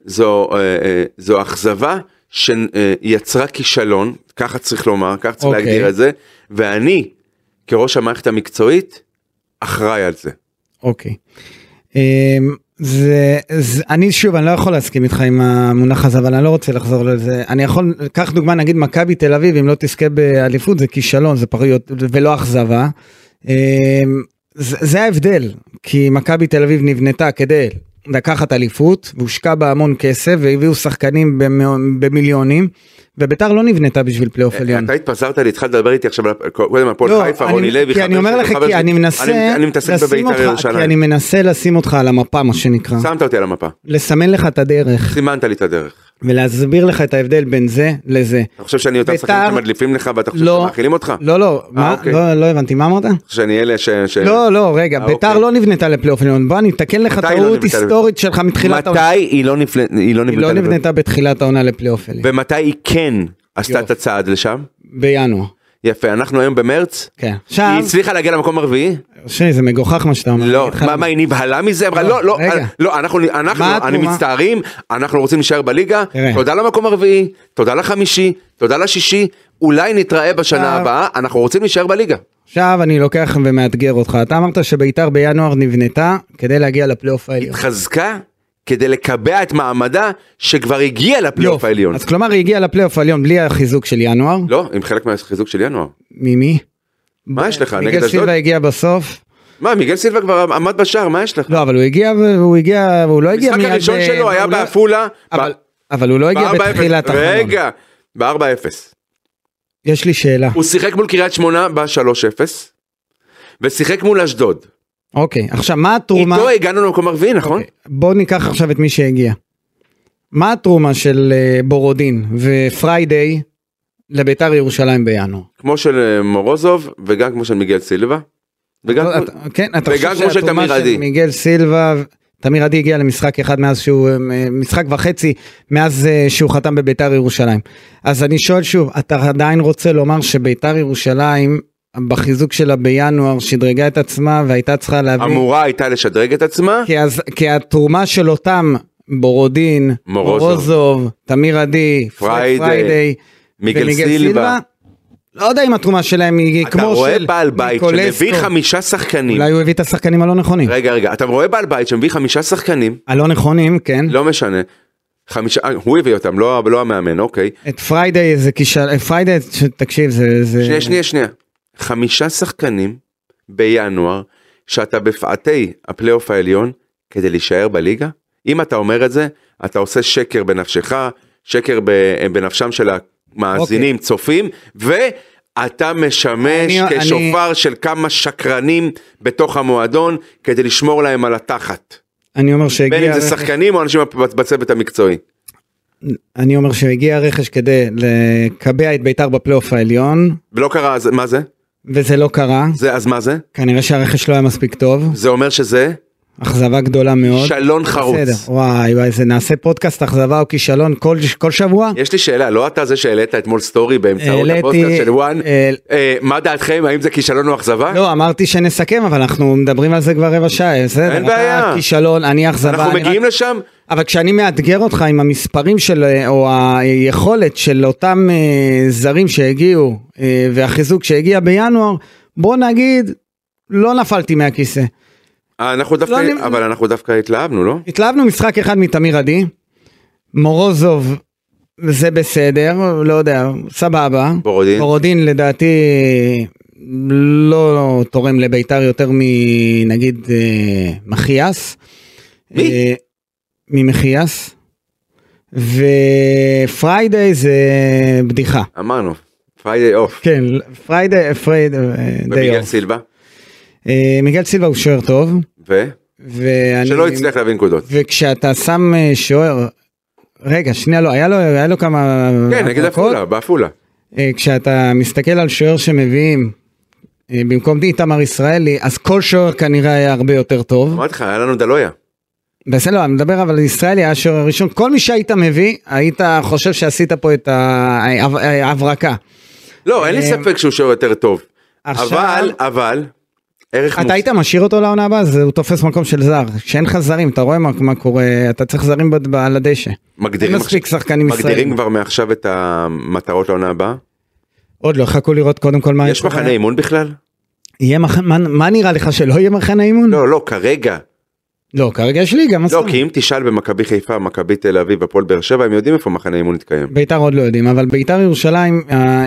C: זו, אה, אה, זו אכזבה שיצרה כישלון, ככה צריך לומר, ככה צריך
B: אוקיי.
C: להגדיר את זה, ואני, כראש המערכת המקצועית, אחראי על זה.
B: אוקיי. אמ, זה, זה אני שוב אני לא יכול להסכים איתך עם המונח הזה אבל אני לא רוצה לחזור לזה אני יכול קח דוגמה נגיד מכבי תל אביב אם לא תזכה באליפות זה כישלון זה פריות ולא אכזבה. אמ, זה, זה ההבדל כי מכבי תל אביב נבנתה כדי לקחת אליפות והושקע בה המון כסף והביאו שחקנים במא- במיליונים וביתר לא נבנתה בשביל פלייאוף עליון.
C: אתה התפזרת לי, התחלת לדבר איתי עכשיו על- קודם על פועל
B: לא,
C: חיפה,
B: אני-
C: רוני לוי,
B: כי
C: חבר
B: אני אומר
C: שלי,
B: לך
C: חבר
B: כי
C: שלי.
B: אני מנסה
C: אני- אני מתעסק
B: לשים
C: בבית"ר
B: אותך כי אני
C: ירושלים.
B: מנסה לשים אותך על המפה מה שנקרא.
C: שמת אותי על המפה,
B: לסמן לך את הדרך
C: סימנת לי את הדרך.
B: ולהסביר לך את ההבדל בין זה לזה.
C: אתה חושב שאני אותם
B: בית"ר-
C: שחקנים שמדליפים לך ואתה חושב
B: לא.
C: שמאכילים אותך? אתה
B: לא לא, מה?
C: אוקיי.
B: לא לא הבנתי מה אמרת?
C: חושב שאני אלה ש... ש-
B: לא לא רגע
C: אה,
B: ביתר
C: אוקיי.
B: לא נבנתה לפלייאוף עליון בוא אני אתקן לך
C: מתי היא לא
B: טעות
C: נבנתה לפ-
B: היסטורית שלך מתחילת
C: מתי
B: העונה.
C: היא לא נפל- היא לא
B: היא לא
C: נבנתה?
B: נבנתה בתחילת העונה לפלייאוף עליון.
C: ומתי היא כן עשתה את
B: יופי.
C: הצעד לשם?
B: בינואר.
C: יפה, אנחנו היום במרץ.
B: כן.
C: היא
B: עכשיו,
C: הצליחה להגיע למקום הרביעי?
B: שי, זה מגוחך מה שאתה אומר.
C: לא.
B: אני חייב-
C: מה, מה, היא נבהלה מזה? אמרה,
B: לא,
C: לא, לא,
B: רגע.
C: אה, לא, אנחנו, אנחנו,
B: מה
C: אני
B: התרומה?
C: מצטערים, אנחנו רוצים להישאר בליגה.
B: תראה.
C: תודה למקום הרביעי, תודה לחמישי, תודה לשישי, אולי נתראה בשנה
B: עכשיו-
C: הבאה, אנחנו רוצים להישאר בליגה.
B: עכשיו אני לוקח ומאתגר אותך אתה אמרת שביתר בינואר נבנתה כדי להגיע לפלייאוף העליון.
C: התחזקה כדי לקבע את מעמדה שכבר הגיע לפלייאוף
B: יופי.
C: העליון.
B: אז כלומר היא הגיעה לפלייאוף העליון בלי החיזוק של ינואר.
C: לא, עם חלק מהחיזוק של ינואר.
B: ממי?
C: מה יש לך, נגד
B: מיגל
C: אשדוד?
B: סילבה הגיע בסוף.
C: מה, מיגל סילבה כבר עמד בשער, מה יש לך?
B: לא אבל הוא הגיע הוא הגיע הוא לא הגיע
C: המשחק
B: מיד
C: הראשון
B: ב-
C: שלו היה
B: הוא לא-
C: בעפולה.
B: אבל-
C: ב-
B: אבל הוא לא הגיע
C: ב- 4-0.
B: בתחילת החלון.
C: רגע, ב-4-0.
B: יש לי שאלה.
C: הוא שיחק מול קריית שמונה ב-3-0, ושיחק מול אשדוד.
B: אוקיי עכשיו מה התרומה? אוקיי,
C: איתו הגענו למקום הרביעי, נכון?
B: בוא ניקח עכשיו את מי שהגיע. מה התרומה של אה, בורודין ופריידיי לביתר ירושלים בינואר?
C: כמו של אה, מורוזוב וגם כמו של מיגל סילבה. וגם
B: לא,
C: כמו-
B: אתה- כן, אתה
C: וגם
B: חושב
C: כמו של
B: שהתרומה
C: תמיר
B: של
C: עדי.
B: מיגל סילבה, תמיר עדי הגיע למשחק אחד מאז שהוא, אה, משחק וחצי מאז אה, שהוא חתם בביתר ירושלים. אז אני שואל שוב, אתה עדיין רוצה לומר שביתר ירושלים, בחיזוק שלה בינואר, שדרגה את עצמה והייתה צריכה להביא...
C: אמורה הייתה לשדרג את עצמה.
B: כי, אז, כי התרומה של אותם בורודין,
C: מורוזוב.
B: מורוזוב תמיר עדי,
C: פריידי,
B: פריידי
C: מיגל
B: ומיגל
C: סילבה.
B: לא יודע אם התרומה שלהם היא
C: אתה
B: כמו
C: רואה
B: של
C: בעל בית שמביא
B: ניקולסקו.
C: חמישה שחקנים.
B: אולי הוא הביא את השחקנים הלא נכונים.
C: רגע רגע אתה רואה בעל בית שמביא חמישה שחקנים
B: הלא נכונים, כן.
C: לא משנה. חמישה אה, הוא הביא אותם לא לא המאמן אוקיי.
B: את פריידי זה כישל... פריידי, ש- תקשיב, זה... זה...
C: שנייה שנייה שנייה. חמישה שחקנים בינואר שאתה בפאתי הפלייאוף העליון כדי להישאר בליגה אם אתה אומר את זה אתה עושה שקר בנפשך שקר ב- בנפשם של המאזינים צופים ואתה משמש
B: אוקיי. אני- אני-
C: כשופר של כמה שקרנים בתוך המועדון כדי לשמור להם על התחת.
B: אני אומר
C: בין
B: שהגיע...
C: אם זה
B: רכש-
C: שחקנים או אנשים בצוות המקצועי.
B: אני אומר שהגיע רכש כדי לקבע את בית"ר בפלייאוף העליון,
C: ולא קרה, אז מה זה?
B: וזה לא קרה.
C: זה, אז מה זה?
B: כנראה שהרכש לא היה מספיק טוב.
C: זה אומר שזה
B: אכזבה גדולה מאוד.
C: שלון חרוץ.
B: בסדר, וואי וואי, זה נעשה פודקאסט אכזבה או כישלון כל, כל שבוע?
C: יש לי שאלה, לא אתה זה שהעלית אתמול סטורי באמצעות
B: העליתי-
C: הפוסטר אה, של וואן?
B: אה,
C: אה, מה דעתכם, האם זה כישלון או אכזבה?
B: לא, אמרתי שנסכם, אבל אנחנו מדברים על זה כבר רבע שעה, בסדר.
C: אין בעיה.
B: אתה כישלון, אני אכזבה.
C: אנחנו
B: אני רק-
C: מגיעים לשם?
B: אבל כשאני מאתגר אותך עם המספרים של, אה, או היכולת של אותם אה, זרים שהגיעו, אה, והחיזוק שהגיע בינואר, בוא נגיד, לא נפלתי מהכיסא.
C: אה, אנחנו
B: לא,
C: דווקא,
B: אני-
C: אבל אנחנו דווקא התלהבנו, לא?
B: התלהבנו משחק אחד מתמיר עדי, מורוזוב, זה בסדר, לא יודע, סבבה.
C: בורודין.
B: בורודין לדעתי לא תורם לביתר יותר מנגיד אה, מחיאס.
C: מי?
B: אה, ממחיאס. ופריידיי זה בדיחה.
C: אמרנו, פריידי אוף.
B: כן, פריידיי, פריידיי, די
C: ומיגל
B: אוף.
C: סילבה.
B: אה, מיגל סילבה הוא שוער טוב.
C: ו?
B: ואני...
C: שלא הצליח להביא נקודות.
B: וכשאתה שם אה, שוער, רגע שנייה לא, היה לו, היה לו כמה...
C: כן, נגד
B: הברקות.
C: עפולה, בעפולה.
B: אה, כשאתה מסתכל על שוער שמביאים אה, במקום איתמר ישראלי, אז כל שוער כנראה היה הרבה יותר טוב.
C: אמרתי לך, היה לנו דלויה.
B: בסדר, לא, אני מדבר אבל ישראלי היה השוער הראשון, כל מי שהיית מביא, היית חושב שעשית פה את אה, ההב- ההברקה.
C: לא, אין לי
B: אה,
C: ספק שהוא שוער יותר טוב.
B: עכשיו-
C: אבל, אבל, ערך
B: אתה
C: מוס-
B: היית משאיר אותו לעונה הבאה, אז הוא תופס מקום של זר. כשאין לך זרים, אתה רואה מה, מה קורה, אתה צריך זרים בד- על הדשא. אין
C: מגדירים
B: מספיק
C: עכשיו-
B: שחקנים ישראלים.
C: מגדירים כבר מעכשיו את המטרות לעונה הבאה?
B: עוד לא, חכו לראות קודם כל מה
C: יש מחנה אימון בכלל?
B: יהיה מח... מה, מה נראה לך שלא יהיה מחנה אימון?
C: לא, לא, כרגע.
B: לא, כרגע יש ליגה, מה זאת
C: לא,
B: אומרת?
C: כי אם תשאל במכבי חיפה, מכבי תל אביב, הפועל באר שבע, הם יודעים איפה מחנה אימון יתקיים.
B: ביתר עוד לא יודעים, אבל ביתר ירושלים, אה,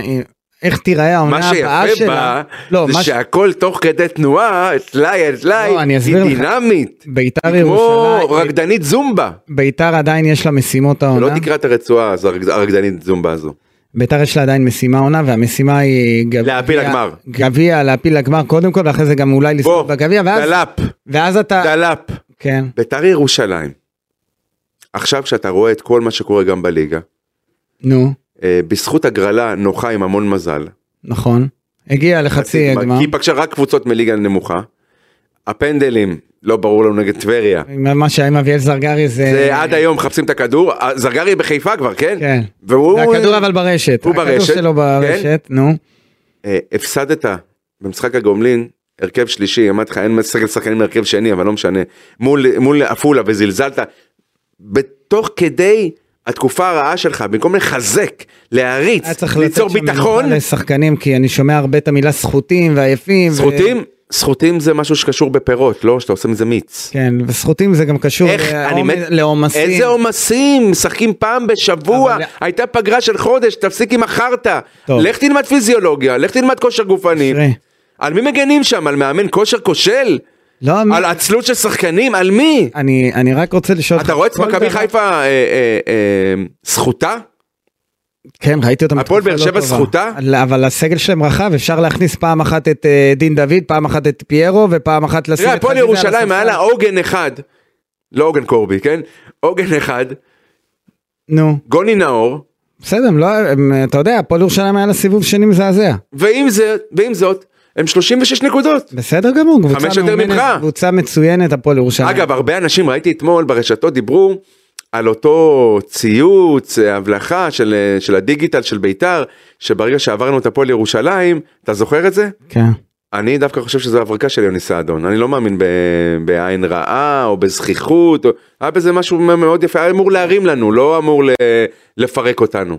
B: איך תיראה העונה
C: מה
B: הבאה
C: שיפה בה,
B: שלה? לא,
C: זה
B: מה ש-
C: שהכל תוך כדי תנועה, טלאי על טלאי,
B: לא, אני
C: היא
B: אסביר לך.
C: דינמית.
B: ביתר
C: היא כמו
B: ירושלים,
C: רקדנית זומבה.
B: ביתר עדיין יש לה משימות
C: לא
B: העונה,
C: תקרא את הרצועה הזו, הרקד- הרקדנית זומבה הזו.
B: ביתר יש לה עדיין משימה עונה, והמשימה היא גביע,
C: להעפיל לגמר.
B: גביע, להפיל לגמר קודם כל, ואחרי זה גם אולי לזכות
C: בוא,
B: בגביע, ואז- אה.
C: דלאפ,
B: ואז אתה,
C: דלאפ.
B: כן,
C: ביתר ירושלים. עכשיו כשאתה רואה את כל מה שקורה גם בליגה,
B: נו,
C: אה, בזכות הגרלה נוחה עם המון מזל.
B: נכון, הגיע לחצי הגמר,
C: כי היא פגשה רק קבוצות מליגה נמוכה. הפנדלים, לא ברור לנו נגד טבריה.
B: מה שהיה עם אביאל זרגרי זה,
C: זה עד היום מחפשים את הכדור, אה, זרגרי בחיפה כבר, כן?
B: אה, כן,
C: והוא...
B: הכדור אבל ברשת,
C: הוא
B: הכדור
C: ברשת, כן.
B: שלו ברשת, נו,
C: אה, הפסדת במשחק הגומלין, הרכב שלישי, אמרתי לך אין סגל שחקנים להרכב שני, אבל לא משנה. מול מול עפולה וזלזלת. בתוך כדי התקופה הרעה שלך, במקום לחזק, להריץ,
B: היה צריך לתת
C: ליצור
B: שם
C: ביטחון,
B: מנוחה לשחקנים כי אני שומע הרבה את המילה סחוטים ועייפים. ו-
C: זכותים, זכותים זה משהו שקשור בפירות, לא שאתה עושה מזה מיץ.
B: כן, וסחוטים זה גם קשור
C: איך,
B: אה, לעומס-
C: אני מת,
B: לעומסים.
C: איזה עומסים, משחקים פעם בשבוע,
B: אבל-
C: הייתה פגרה של חודש, תפסיק עם החרטא.
B: טוב.
C: לך תלמד פיזיולוגיה, לך תלמד כושר גופני.
B: תראה,
C: על מי מגנים שם? על מאמן כושר כושל?
B: לא, מי-
C: על עצלות של שחקנים? על מי?
B: אני אני רק רוצה לשאול אותך.
C: אתה רואה את
B: כל
C: מכבי
B: דבר-
C: חיפה אה, אה, אה, זכותה?
B: כן, ראיתי אותם.
C: הפועל
B: בתקופה
C: באר
B: לא
C: שבע
B: טובה.
C: זכותה?
B: אבל- אבל הסגל שלהם רחב, אפשר להכניס פעם אחת את אה, דין דוד, פעם אחת את פיירו, ופעם אחת לשים את
C: תראה, הפועל
B: חזיזה על
C: ירושלים היה
B: הספסל.
C: לה עוגן אחד, לא עוגן קורבי, כן? עוגן אחד,
B: נו,
C: גוני נאור,
B: בסדר, הם לא, הם, אתה יודע, הפועל ירושלים היה לה סיבוב שני מזעזע.
C: ועם, זה, ועם זאת, הם 36 נקודות.
B: בסדר גמור, קבוצה
C: חמש יותר
B: מאומנת,
C: ממך.
B: קבוצה מצוינת, הפועל ירושלים.
C: אגב, הרבה אנשים ראיתי אתמול ברשתות דיברו על אותו ציוץ, אה, הבלחה של, אה, של הדיגיטל של ביתר, שברגע שעברנו את הפועל ירושלים, אתה זוכר את זה?
B: כן.
C: אני דווקא חושב שזו הברקה של יוני סעדון, אני לא מאמין ב- בעין רעה או בזכיחות, או... היה בזה משהו מ- מאוד יפה, היה אמור להרים לנו, לא אמור ל... לפרק אותנו.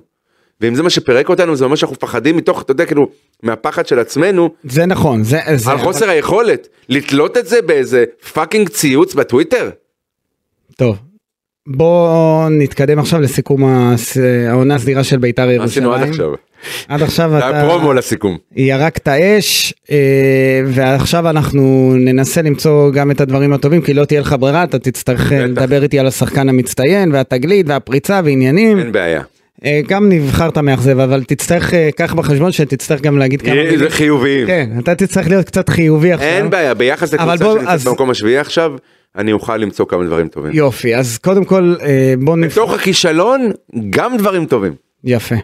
C: ואם זה מה שפירק אותנו זה אומר שאנחנו מפחדים מתוך, אתה יודע, כאילו, מהפחד של עצמנו,
B: זה נכון, זה... זה
C: על חוסר היכולת, לתלות את זה באיזה פאקינג ציוץ בטוויטר?
B: טוב. בואו נתקדם עכשיו לסיכום הס- העונה הסדירה של ביתר
C: מה
B: ירושלים.
C: עשינו עד עכשיו?
B: עד עכשיו
C: זה היה
B: אתה
C: פרומו לסיכום.
B: ירקת אש, אה, ועכשיו אנחנו ננסה למצוא גם את הדברים הטובים, כי לא תהיה לך ברירה, אתה תצטרך אה,
C: בטח.
B: לדבר איתי על השחקן המצטיין, והתגלית, והפריצה, ועניינים.
C: אין בעיה.
B: אה, גם נבחרת מאכזב, אבל תצטרך, אה, קח בחשבון שתצטרך גם להגיד כמה...
C: זה
B: מילים.
C: חיוביים.
B: כן, אתה תצטרך להיות קצת חיובי עכשיו.
C: אין בעיה, ביחס
B: אבל
C: לקבוצה
B: בוא,
C: שנמצאת
B: אז-
C: במקום השביעי עכשיו, אני אוכל למצוא כמה דברים טובים.
B: יופי, אז קודם כל אה, בוא נפ...
C: בתוך הכישלון גם דברים טובים.
B: יפה.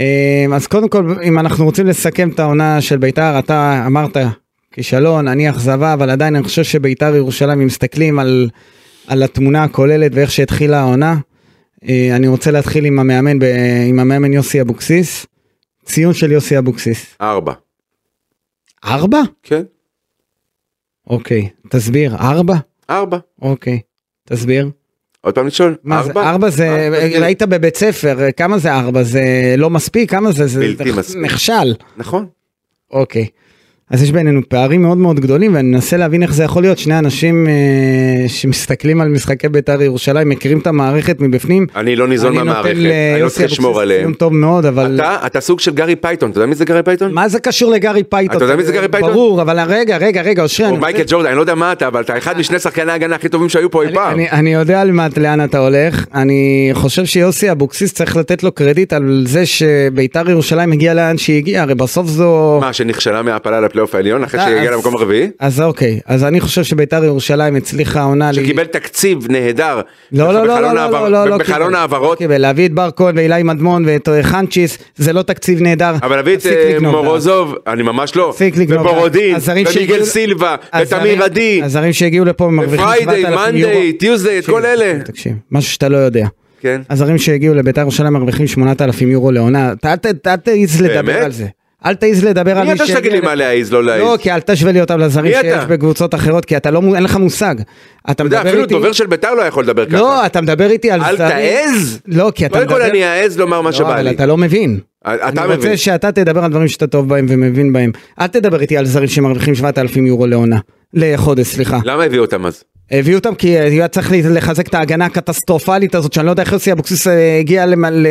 B: אה, אז קודם כל, אם אנחנו רוצים לסכם את העונה של בית"ר, אתה אמרת כישלון, אני אכזבה, אבל עדיין אני חושב שבית"ר ירושלים, אם מסתכלים על, על התמונה הכוללת ואיך שהתחילה העונה, אה, אני רוצה להתחיל עם המאמן, ב, עם המאמן יוסי אבוקסיס. ציון של יוסי אבוקסיס.
C: ארבע.
B: ארבע?
C: כן?
B: אוקיי, תסביר, ארבע?
C: ארבע.
B: אוקיי, תסביר.
C: עוד פעם לשאול?
B: מה זה, ארבע זה,
C: ארבע. כאילו-
B: ראית בבית ספר, כמה זה ארבע? זה לא מספיק? כמה זה? זה
C: בלתי
B: זה
C: מספיק.
B: נכשל.
C: נכון.
B: אוקיי. אז יש בינינו פערים מאוד מאוד גדולים ואני מנסה להבין איך זה יכול להיות שני אנשים אה, שמסתכלים על משחקי בית"ר ירושלים מכירים את המערכת מבפנים.
C: אני לא ניזון מהמערכת, אני לא צריך לשמור עליהם.
B: ציון טוב מאוד אבל
C: אתה, אתה סוג של גארי פייתון, אתה יודע מי זה גארי פייתון?
B: מה זה קשור לגארי פייתון?
C: אתה יודע מי זה גארי פייתון?
B: ברור אבל רגע רגע רגע אושרי.
C: או
B: אני רוצה-
C: מייקל ג'ורדן, אני לא יודע מה אתה, אבל אתה אחד משני שחקני ההגנה הכי טובים שהיו פה אי
B: אני-
C: פעם.
B: אני, אני יודע על מה, לאן אתה הולך, אני חושב שיוסי אבוקסיס צריך לתת לו קרדיט על זה שביתר ירושלים הגיעה לאן שהיא הגיעה, הרי בסוף זו...
C: מה, שנכשלה מהעפלה לפלייאוף העליון אחרי
B: אה,
C: שהגיע
B: אז-
C: למקום הרביעי?
B: אז אוקיי, אז אני חושב שביתר ירושלים הצליחה העונה... לי-
C: שקיבל תקציב נהדר.
B: לא, לא, לא,
C: בחלון
B: לא, לא,
C: העבר-
B: לא, לא, לא,
C: בחלון
B: קיבל.
C: העברות,
B: קיבל, להביא את בר כהן ואילי מדמון ואת אה, חנצ'יס, זה לא תקציב נהדר.
C: אבל להביא את
B: תפסיק
C: אה,
B: לגנוב,
C: מורוזוב, אני ממש לא,
B: תפסיק לגנוב.
C: ובורודין,
B: הזרים
C: ומיגל
B: שהגיעו-
C: סילבה,
B: הזרים-
C: ותמיר עדי,
B: הזרים שהגיעו לפה מרוויחים
C: ופריידיי,
B: 7,000 יורו.
C: מאנדיי, טיוזדיי, את כל אלה.
B: תקשיב, משהו שאתה לא יודע.
C: כן.
B: הזרים שהגיעו לביתר ירושלים מרוויחים 8,000 יורו לעונה, אתה- אל ת- אל תעיז לדבר
C: באמת?
B: על זה. אל תעיז לדבר על
C: מי
B: מי
C: אתה שתגיד לי
B: שהגיע-
C: מה להעיז, לא להעיז?
B: לא, כי אל תשווה לי אותם לזרים
C: מי אתה?
B: שיש בקבוצות אחרות, כי אתה לא, מ- אין לך מושג. אתה
C: אתה יודע,
B: מדבר
C: אפילו
B: איתי...
C: דובר של ביתר לא יכול לדבר ככה.
B: לא, אתה מדבר איתי על
C: אל
B: זרים...
C: תעז!
B: לא, כי אתה
C: קודם
B: מדבר...
C: כל אני אעז לומר מה
B: לא,
C: שבא
B: אבל
C: לי. אה,
B: אתה לא מבין.
C: אתה
B: אני
C: מבין.
B: רוצה שאתה תדבר על דברים שאתה טוב בהם ומבין בהם. אל תדבר איתי על זרים שמרוויחים 7,000 יורו לעונה. לחודש, סליחה.
C: למה הביאו אותם אז?
B: הביאו אותם כי אה, היה צריך לחזק את ההגנה הקטסטרופלית הזאת שאני לא יודע איך יוסי אבוקסיס אה, הגיע למ- ל...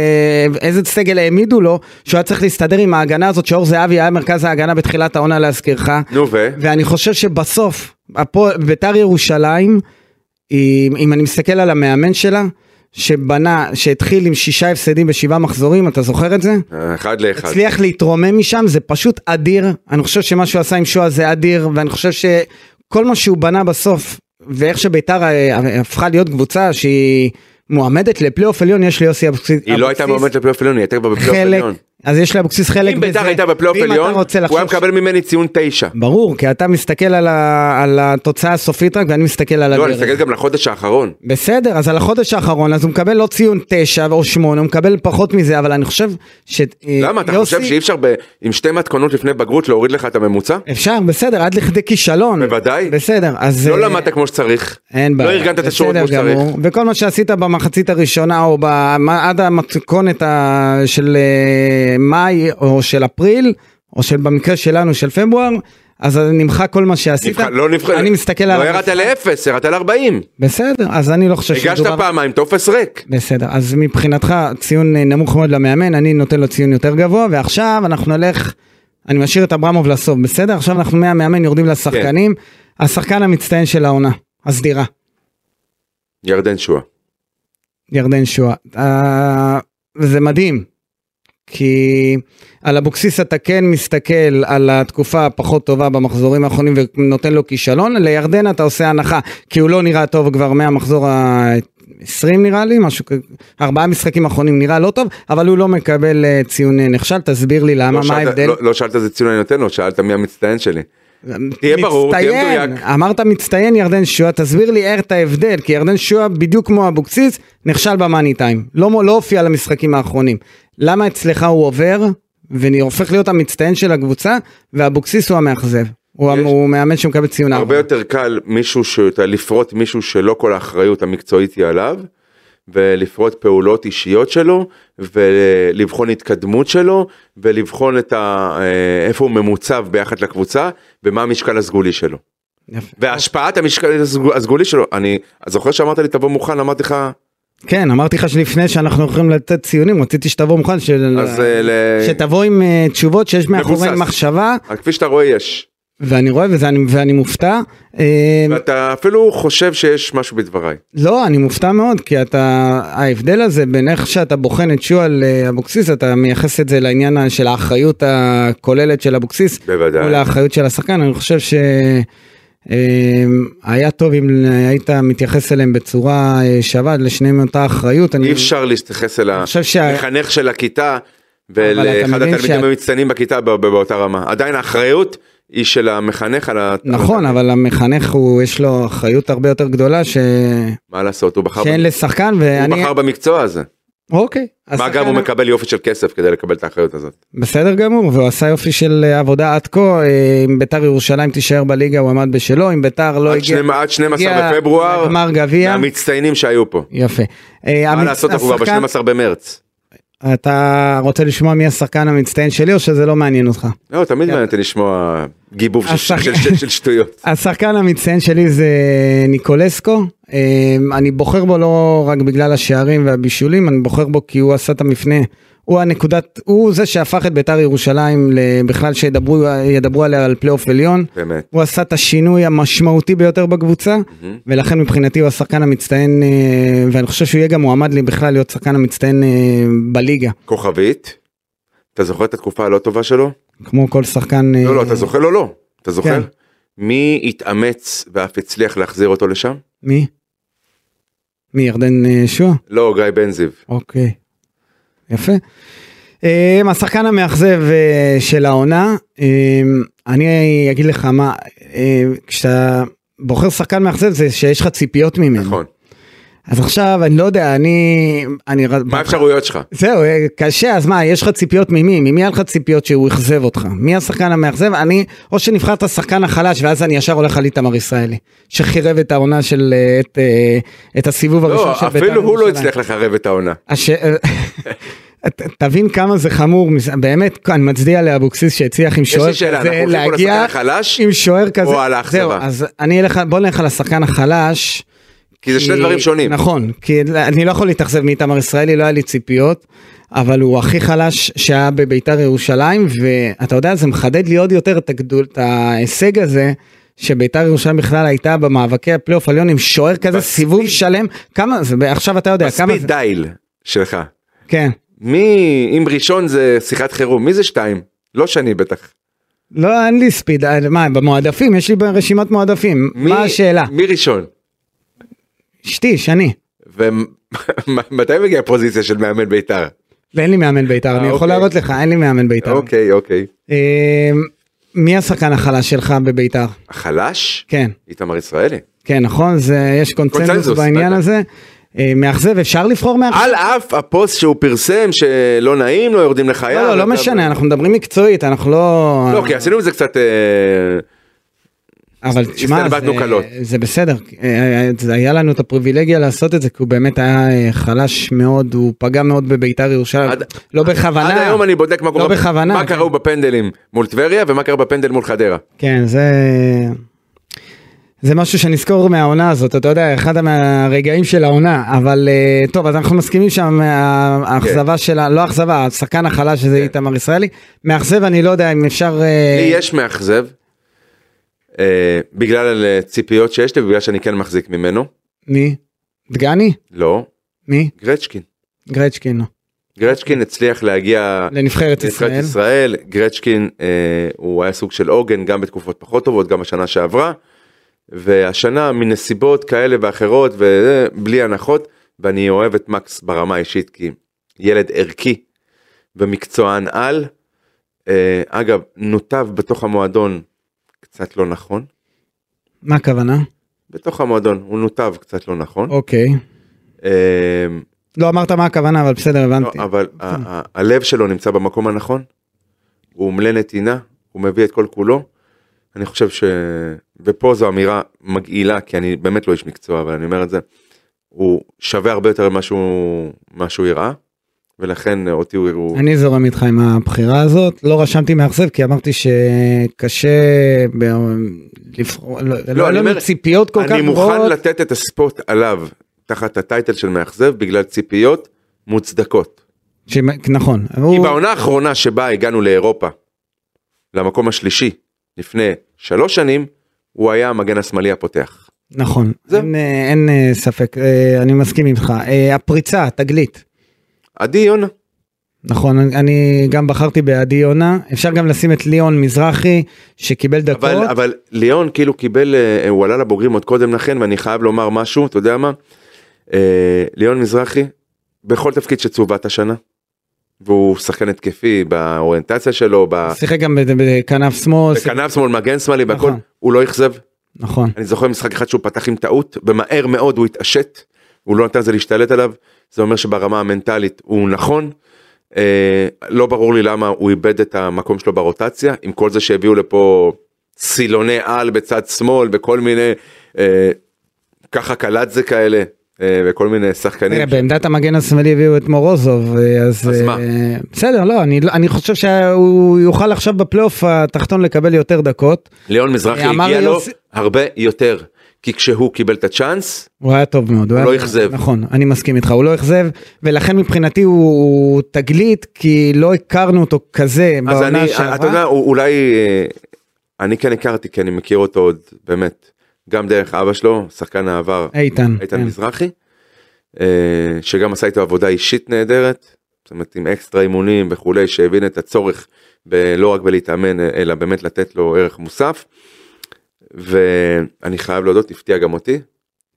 B: איזה סגל העמידו לו שהוא היה צריך להסתדר עם ההגנה הזאת שאור זהבי היה מרכז ההגנה בתחילת העונה להזכירך
C: נו ו?
B: ואני חושב שבסוף הפועל- ביתר ירושלים אם, אם אני מסתכל על המאמן שלה שבנה שהתחיל עם שישה הפסדים בשבעה מחזורים אתה זוכר את זה?
C: אה, אחד לאחד.
B: הצליח להתרומם משם זה פשוט אדיר אני חושב שמה שהוא עשה עם שואה זה אדיר ואני חושב שכל מה שהוא בנה בסוף ואיך שביתר אה, הפכה להיות קבוצה שהיא מועמדת לפלייאוף עליון יש ליוסי אבוקסיס.
C: היא לא הייתה
B: אבוקסיס
C: מועמדת לפלייאוף עליון, היא הייתה כבר בפלייאוף
B: חלק
C: עליון.
B: אז יש לאבוקסיס חלק
C: אם ביתר
B: בזה.
C: הייתה בפלייאוף
B: ואם אתה
C: עליון,
B: רוצה
C: הוא היה
B: לחשוב
C: מקבל ממני ציון תשע.
B: ברור כי אתה מסתכל על, ה... על התוצאה הסופית רק ואני מסתכל על
C: לא, אני
B: הדרך.
C: מסתכל גם לחודש האחרון.
B: אה, בסדר, אז על החודש האחרון, אז הוא מקבל לא ציון תשע או שמונה, הוא מקבל פחות מזה, אבל אני חושב ש... אה,
C: למה, אתה חושב שאי אפשר ב- עם שתי מתכונות לפני בגרות להוריד לך את הממוצע?
B: אפשר, בסדר, עד לכדי כישלון.
C: בוודאי.
B: בסדר, אז...
C: לא
B: אה,
C: למדת כמו שצריך.
B: אין בעיה.
C: לא ארגנת את השורות כמו
B: בסדר
C: שצריך.
B: גמור. וכל מה שעשית במחצית הראשונה, או במה- עד המתכונת ה- של אה, מאי, או של אפריל, או של במקרה שלנו של פברואר, אז נמחק כל מה שעשית.
C: נבחר- לא נבחר,
B: אני מסתכל על...
C: לא ירדת לאפס, ירדת לארבעים.
B: בסדר, אז אני לא חושב
C: הגשת פעמיים, טופס ריק.
B: בסדר, אז מבחינתך ציון אה, נמוך מאוד למאמן, אני נותן לו ציון יותר גבוה, ועכשיו אנחנו נלך, אני משאיר את אברמוב לסוף, בסדר? עכשיו אנחנו מהמאמן יורדים
C: כן.
B: לשחקנים, השחקן המצטיין של העונה, הסדירה,
C: ירדן שואה.
B: ירדן שואה. אה, זה מדהים, כי על אבוקסיס אתה כן מסתכל על התקופה הפחות טובה במחזורים האחרונים ונותן לו כישלון, לירדן אתה עושה הנחה, כי הוא לא נראה טוב כבר מהמחזור ה... 20 נראה לי, משהו כזה, ארבעה משחקים אחרונים נראה לא טוב, אבל הוא לא מקבל אה, ציון אה, נכשל, תסביר לי למה,
C: לא
B: מה
C: שאלת-
B: ההבדל? אה,
C: לא- לא שאלת איזה ציון אני נותן לו, שאלת מי המצטיין שלי. תהיה ברור, תהיה
B: מצטיין,
C: מדויק.
B: אמרת מצטיין ירדן שועה, תסביר לי איך את ההבדל, כי ירדן שועה בדיוק כמו אבוקסיס, נכשל במאני טיים, לא, מו- לא הופיע למשחקים האחרונים. למה אצלך הוא עובר, והופך להיות המצטיין של הקבוצה, ואבוקסיס הוא המאכזב. הוא,
C: יש-
B: הוא מאמן שמקבל ציון
C: הרבה
B: ארבע.
C: יותר קל מישהו ש... לפרוט מישהו שלא כל האחריות המקצועית היא עליו ולפרוט פעולות אישיות שלו ולבחון התקדמות שלו ולבחון את ה... אה, איפה הוא ממוצב ביחד לקבוצה ומה המשקל הסגולי שלו.
B: יפה.
C: והשפעת המשקל הסג- הסגולי שלו אני זוכר שאמרת לי תבוא מוכן אמרתי לך
B: כן, אמרתי לך שלפני שאנחנו הולכים לתת ציונים, רציתי שתבוא מוכן, של...
C: אז אה, ל...
B: שתבוא עם אה, תשובות שיש מאחורי
C: מבוסס.
B: מחשבה,
C: כפי שאתה רואה יש
B: ואני רואה וזה, אני- ואני מופתע. אה,
C: ואתה אפילו חושב שיש משהו בדבריי.
B: לא, אני מופתע מאוד, כי אתה, ההבדל הזה בין איך שאתה בוחן את שועל אה, אבוקסיס, אתה מייחס את זה לעניין ה- של האחריות הכוללת של אבוקסיס,
C: בוודאי.
B: מול האחריות של השחקן, אני חושב שהיה טוב אם היית מתייחס אליהם בצורה אה, שווה, לשניהם אותה אחריות. אני-
C: אי אפשר להתייחס אל
B: אני חושב שה-
C: המחנך של הכיתה
B: אבל אתה
C: ולאחד
B: מבין
C: התלמידים
B: שה-
C: המצטיינים בכיתה ב- ב- באותה רמה. עדיין האחריות היא של המחנך על ה...
B: נכון, אבל המחנך, הוא, יש לו אחריות הרבה יותר גדולה ש...
C: מה לעשות, הוא בחר, ב...
B: שאין לשחקן,
C: הוא
B: ואני...
C: בחר במקצוע הזה.
B: אוקיי.
C: מה
B: השחקן-
C: גם הוא מקבל יופי של כסף כדי לקבל את האחריות הזאת.
B: בסדר גמור, והוא עשה יופי של אה, עבודה עד כה, אה, אם ביתר ירושלים תישאר בליגה הוא עמד בשלו, אם ביתר לא
C: עד
B: הגיע,
C: שני- עד 12
B: הגיע
C: בפברואר,
B: לגמר גביע,
C: המצטיינים שהיו פה.
B: יפה. אה,
C: מה
B: המצ-
C: לעשות, אנחנו כבר
B: השחקן-
C: ב-12 במרץ.
B: אתה רוצה לשמוע מי השחקן המצטיין שלי או שזה לא מעניין אותך?
C: לא, תמיד
B: כן.
C: מעניין אותי לשמוע גיבוב של-
B: השחק-
C: של- של- של שטויות.
B: השחקן המצטיין שלי זה ניקולסקו, אה, אני בוחר בו לא רק בגלל השערים והבישולים, אני בוחר בו כי הוא עשה את המפנה, הוא הנקודת, הוא זה שהפך את ביתר ירושלים ל- בכלל שידברו ידברו עליה על פלייאוף עליון.
C: באמת.
B: הוא עשה את השינוי המשמעותי ביותר בקבוצה, ולכן מבחינתי הוא השחקן המצטיין, אה, ואני חושב שהוא יהיה גם מועמד לי בכלל להיות שחקן המצטיין אה, בליגה,
C: כוכבית, אתה זוכר את התקופה הלא טובה שלו?
B: כמו כל שחקן... אה,
C: לא, לא, אתה זוכר? לא, לא. אתה זוכר?
B: כן.
C: מי התאמץ ואף הצליח להחזיר אותו לשם?
B: מי? מי, ירדן אה, שועה?
C: לא, גיא בן זיו.
B: אוקיי. יפה. אה, השחקן המאכזב אה, של העונה, אה, אני אגיד לך מה, אה, כשאתה בוחר שחקן מאכזב זה שיש לך ציפיות ממנו.
C: נכון.
B: אז עכשיו, אני לא יודע, אני... אני
C: מה האפשרויות שלך?
B: זהו, אה, קשה, אז מה, יש לך ציפיות ממי? ממי היה לך ציפיות שהוא אכזב אותך? מי השחקן המאכזב? אני, או שנבחרת שחקן החלש, ואז אני ישר הולך על איתמר ישראלי, שחירב את העונה של... אה, את, אה, את הסיבוב הראשון
C: לא,
B: של בית"ר
C: אפילו הוא לא
B: ירושלים.
C: הצליח לחרב את העונה.
B: הש... אה, ת- תבין כמה זה חמור, מס- באמת, אני מצדיע לאבוקסיס שהצליח עם שוער
C: לי שאלה, אנחנו
B: כזה
C: הולכים פה
B: להגיע
C: לשחקן החלש,
B: עם שוער כזה,
C: על האכזבה?
B: זהו, אז אני אלך, בוא נלך על השחקן החלש,
C: כי זה שני דברים שונים.
B: נכון, כי אני לא יכול להתאכזב מאיתמר ישראלי, לא היה לי ציפיות, אבל הוא הכי חלש שהיה בביתר ירושלים, ואתה יודע, זה מחדד לי עוד יותר את, הגדול, את ההישג הזה. שביתר ירושלים בכלל הייתה במאבקי הפלייאוף עליון עם שוער כזה
C: מספיית.
B: סיבוב שלם כמה זה עכשיו אתה יודע כמה
C: מספיק
B: זה
C: דייל שלך.
B: כן
C: מי, אם ראשון זה שיחת חירום, מי זה שתיים? לא שני בטח.
B: לא, אין לי ספיד, אה, מה, במועדפים? יש לי ברשימת מועדפים.
C: מי-
B: מה השאלה?
C: מי ראשון?
B: אשתי, שני.
C: ומתי מגיעה הפוזיציה של מאמן בית"ר?
B: ואין לי מאמן בית"ר, אני יכול
C: אוקיי.
B: להראות לך, אין לי מאמן בית"ר.
C: אוקיי, אוקיי.
B: אה, מי השחקן החלש שלך בבית"ר?
C: החלש?
B: כן,
C: איתמר ישראלי.
B: כן, נכון? זה, יש קונצנזוס
C: קונצנזוס,
B: בעניין
C: בטח.
B: הזה. אה, מאכזב, אפשר לבחור מאכזב?
C: על אף הפוסט שהוא פרסם שלא נעים, לא יורדים לחייו.
B: לא, לא, לא
C: אתה-
B: משנה, אנחנו מדברים מקצועית, אנחנו לא...
C: לא, כי עשינו את זה קצת... אה,
B: אבל תשמע, זה,
C: הסתלבטנו קלות.
B: זה בסדר, אה, זה היה לנו את הפריבילגיה לעשות את זה, כי הוא באמת היה אה, חלש מאוד, הוא פגע מאוד בביתר ירושלים,
C: עד-
B: לא בכוונה.
C: עד היום אני בודק מה
B: לא
C: קורה,
B: בכוונה.
C: מה קראו בפנדלים מול טבריה ומה קרה בפנדל מול חדרה.
B: כן, זה... זה משהו שנזכור מהעונה הזאת, אתה יודע, אחד מהרגעים של העונה, אבל אה, טוב, אז אנחנו מסכימים שם, אה,
C: כן.
B: האכזבה שלה, לא אכזבה, השחקן החלש שזה איתמר ישראלי, מאכזב אני לא יודע אם אפשר... אה,
C: לי יש מאכזב, אה, בגלל אה, ציפיות שיש לי ובגלל שאני כן מחזיק ממנו.
B: מי? דגני?
C: לא,
B: מי?
C: גרצ'קין.
B: גרצ'קין, לא.
C: גרצ'קין הצליח להגיע
B: לנבחרת
C: אה, לנבחרת
B: ישראל.
C: ישראל, גרצ'קין אה, הוא היה סוג של עוגן גם בתקופות פחות טובות, גם השנה שעברה. והשנה מנסיבות כאלה ואחרות ובלי הנחות ואני אוהב את מקס ברמה האישית כי ילד ערכי ומקצוען על. אה, אגב, נותב בתוך המועדון קצת לא נכון.
B: מה הכוונה?
C: בתוך המועדון הוא נותב קצת לא נכון.
B: אוקיי.
C: אה,
B: לא אמרת מה הכוונה, אבל בסדר,
C: לא,
B: הבנתי. כן.
C: אבל ה- ה- הלב שלו נמצא במקום הנכון. הוא עמלה נתינה, הוא מביא את כל כולו. אני חושב ש... ופה זו אמירה מגעילה, כי אני באמת לא איש מקצוע, אבל אני אומר את זה. הוא שווה הרבה יותר ממה שהוא, מה שהוא יראה, ולכן אותי הוא... הוא...
B: אני זורם איתך עם הבחירה הזאת. לא רשמתי מאכזב, כי אמרתי שקשה... ב... לבחור... לא, לא,
C: אני
B: היה לנו
C: אומר,
B: ציפיות כל כך
C: אני מוכן
B: גבוהות.
C: לתת את הספוט עליו, תחת הטייטל של מאכזב, בגלל ציפיות מוצדקות.
B: ש... נכון.
C: כי
B: הוא...
C: בעונה האחרונה שבה הגענו לאירופה, למקום השלישי, לפני שלוש שנים, הוא היה המגן השמאלי הפותח.
B: נכון.
C: זהו.
B: אין, אה, אין אה, ספק, אה, אני מסכים איתך. אה, הפריצה, תגלית.
C: עדי יונה,
B: נכון, אני- אני גם בחרתי בעדי יונה. אפשר גם לשים את ליאון מזרחי, שקיבל דקות.
C: אבל, אבל ליאון כאילו קיבל, אה, הוא עלה לבוגרים עוד קודם לכן, ואני חייב לומר משהו, אתה יודע מה? אה, ליאון מזרחי, בכל תפקיד שצוות השנה, והוא שחקן התקפי באוריינטציה שלו, ב-
B: שיחק גם ב- בכנף שמאל. שיחק-
C: בכנף שמאל, מגן שמאלי, בכל,
B: נכון.
C: הוא לא אכזב.
B: נכון.
C: אני זוכר משחק אחד שהוא פתח עם טעות, ומהר מאוד הוא התעשת, הוא לא נתן לזה להשתלט עליו, זה אומר שברמה המנטלית הוא נכון. אה, לא ברור לי למה הוא איבד את המקום שלו ברוטציה, עם כל זה שהביאו לפה סילוני על בצד שמאל וכל מיני אה, ככה קלאצה כאלה, אה, וכל מיני
B: תראה,
C: שחקנים.
B: בעמדת המגן השמאלי הביאו את מורוזוב, אה, אז...
C: אז
B: אה,
C: מה?
B: בסדר, לא, אני לא- אני חושב שהוא יוכל עכשיו בפלייאוף התחתון לקבל יותר דקות.
C: ליאון מזרחי
B: אה, אמר
C: הגיע
B: לי
C: לו
B: יוסי-
C: הרבה יותר, כי כשהוא קיבל את הצ'אנס,
B: הוא היה טוב מאוד.
C: הוא
B: היה-
C: לא אכזב.
B: נכון, אני מסכים איתך, הוא לא אכזב, ולכן מבחינתי הוא הוא תגלית, כי לא הכרנו אותו כזה
C: אז
B: בעונה
C: אני,
B: שעברה.
C: אתה יודע, א- אולי, אה, אני כן הכרתי, כי אני מכיר אותו עוד, באמת, גם דרך אבא שלו, שחקן העבר,
B: איתן.
C: איתן
B: כן.
C: מזרחי, אה, שגם עשה איתו עבודה אישית נהדרת, זאת אומרת, עם אקסטרה אימונים וכולי, שהבין את הצורך ב- לא רק בלהתאמן, אלא באמת לתת לו ערך מוסף. ואני חייב להודות, הפתיע גם אותי.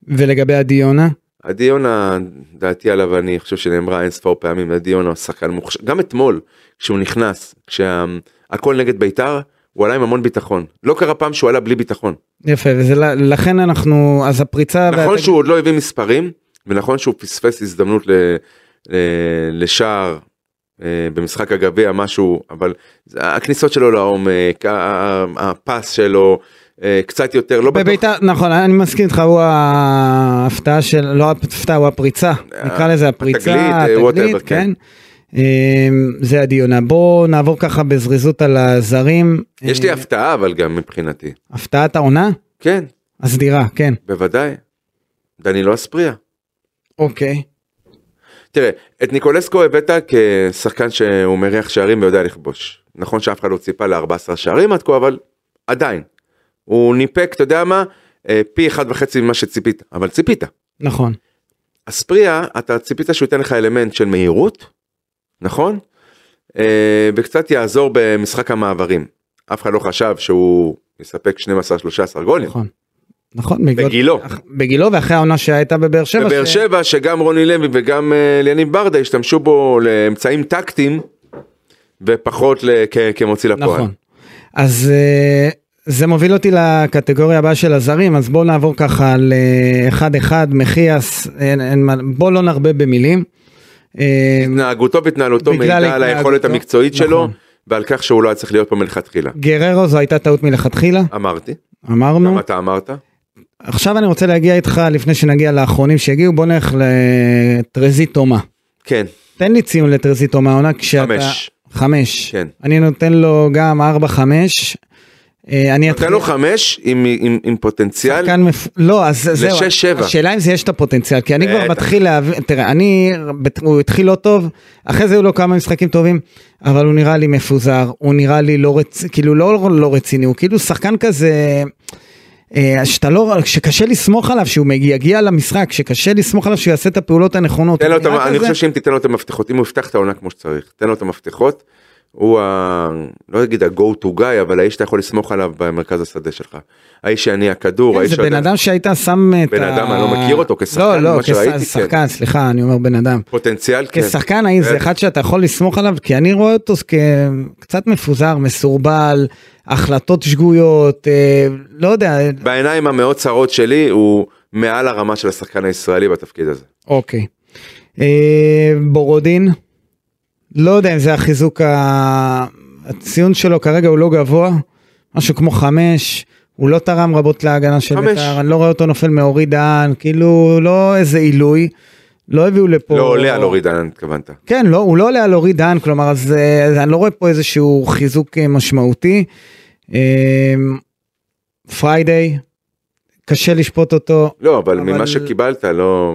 B: ולגבי עדי יונה?
C: עדי יונה, דעתי עליו, אני חושב שנאמרה אין ספור פעמים, עדי יונה הוא שחקן מוכשר, גם אתמול, כשהוא נכנס, כשהכל נגד בית"ר, הוא עלה עם המון ביטחון. לא קרה פעם שהוא עלה בלי ביטחון.
B: יפה, ולכן אנחנו, אז הפריצה...
C: נכון
B: והתג-
C: שהוא עוד לא הביא מספרים, ונכון שהוא פספס הזדמנות ל- ל- לשער אה, במשחק הגביע, משהו, אבל זה- הכניסות שלו לעומק, ה- ה- הפס שלו, אה, קצת יותר, לא בטוח.
B: בביתר, נכון, אני מסכים איתך, הוא ההפתעה של, לא ההפתעה, הוא הפריצה, נקרא לזה הפריצה,
C: אה, התגלית, אה,
B: התגלית,
C: whatever, כן.
B: כן. אמ, זה הדיונה. בואו נעבור ככה בזריזות על הזרים.
C: יש לי
B: אה,
C: הפתעה אבל גם מבחינתי.
B: הפתעת העונה?
C: כן,
B: הסדירה, כן.
C: בוודאי. דנילו אספריה.
B: אוקיי.
C: תראה, את ניקולסקו הבאת כשחקן שהוא מריח שערים ויודע לכבוש. נכון שאף אחד לא ציפה ל-14 שערים עד כה, אבל עדיין. הוא ניפק, אתה יודע מה, אה, פי אחד וחצי ממה שציפית, אבל ציפית.
B: נכון.
C: אספריה, אתה ציפית שהוא ייתן לך אלמנט של מהירות, נכון? אה, וקצת יעזור במשחק המעברים. אף אחד לא חשב שהוא יספק 12-13 גולים.
B: נכון. נכון. בעקבות-
C: בגילו.
B: אח- בגילו ואחרי העונה שהייתה בבאר שבע.
C: בבאר
B: ש-
C: שבע שגם רוני לוי וגם אה, ליניב ברדה השתמשו בו לאמצעים טקטיים ופחות ל- כ- כמוציא לפועל.
B: נכון. אז אה, זה מוביל אותי לקטגוריה הבאה של הזרים, אז בואו נעבור ככה לאחד-אחד, מחיאס, אין- אין מה- בואו לא נרבה במילים. אה,
C: התנהגותו והתנהלותו
B: בגלל
C: מעידה על
B: התנהגותו,
C: היכולת המקצועית שלו
B: נכון.
C: ועל כך שהוא לא היה צריך להיות פה מלכתחילה.
B: גררו זו הייתה טעות מלכתחילה,
C: אמרתי,
B: אמרנו.
C: גם אתה אמרת.
B: עכשיו אני רוצה להגיע איתך, לפני שנגיע לאחרונים שהגיעו, בוא נלך לטרזי תומה.
C: כן,
B: תן לי ציון לטרזי תומה העונה כשאתה...
C: חמש.
B: חמש.
C: כן.
B: אני נותן לו גם ארבע, חמש. אה, אני
C: נותן
B: אתחיל-
C: לו לא חמש עם- עם עם פוטנציאל.
B: שחקן מפ... לא, אז זהו.
C: לשש, שבע.
B: השאלה אם זה יש את הפוטנציאל, כי אני כבר
C: בטח.
B: מתחיל להבין, תראה, אני, הוא התחיל לא טוב, אחרי זה היו לו כמה משחקים טובים, אבל הוא נראה לי מפוזר, הוא נראה לי לא רציני, כאילו לא, לא רציני, הוא כאילו שחקן כזה... אה, שאתה לא, שקשה לסמוך עליו שהוא מגיע- יגיע למשחק, שקשה לסמוך עליו שהוא יעשה את הפעולות הנכונות.
C: תן לו
B: הוא
C: את המ-
B: נראה
C: לא, אני
B: כזה-
C: חושב שאם תיתן לו את המפתחות, אם הוא יפתח את העונה כמו שצריך, תן לו את המפתחות, הוא ה... לא אגיד ה-go to guy, אבל האיש שאתה יכול לסמוך עליו במרכז השדה שלך. האיש שיניע כדור, האיש
B: כן, זה בן אדם שהיית שם את
C: בן אדם, אני לא מכיר אותו, כשחקן,
B: לא, לא,
C: מה שראיתי, כן.
B: כשחקן, סליחה, אני אומר בן אדם.
C: פוטנציאל, כן.
B: כשחקן האם זה אחד שאתה יכול לסמוך עליו כי אני רואה אותו כקצת מפוזר מסורבל החלטות שגויות אה, לא יודע
C: בעיניים המאוד צרות שלי, הוא מעל הרמה של השחקן הישראלי בתפקיד הזה.
B: אוקיי. אה, בורודין לא יודע אם זה החיזוק ה... הציון שלו כרגע הוא לא גבוה משהו כמו חמש. הוא לא תרם רבות להגנה של
C: חמש.
B: בית"ר, אני לא רואה אותו נופל מאורי דהן, כאילו לא איזה עילוי, לא הביאו לפה...
C: לא עולה על אורי דהן, התכוונת.
B: כן, לא, הוא לא עולה על אורי דהן, כלומר, אז, אה, אז אני לא רואה פה איזשהו חיזוק אה, משמעותי. אה, פריידיי, קשה לשפוט אותו.
C: לא, אבל
B: אבל-
C: ממה שקיבלת, לא...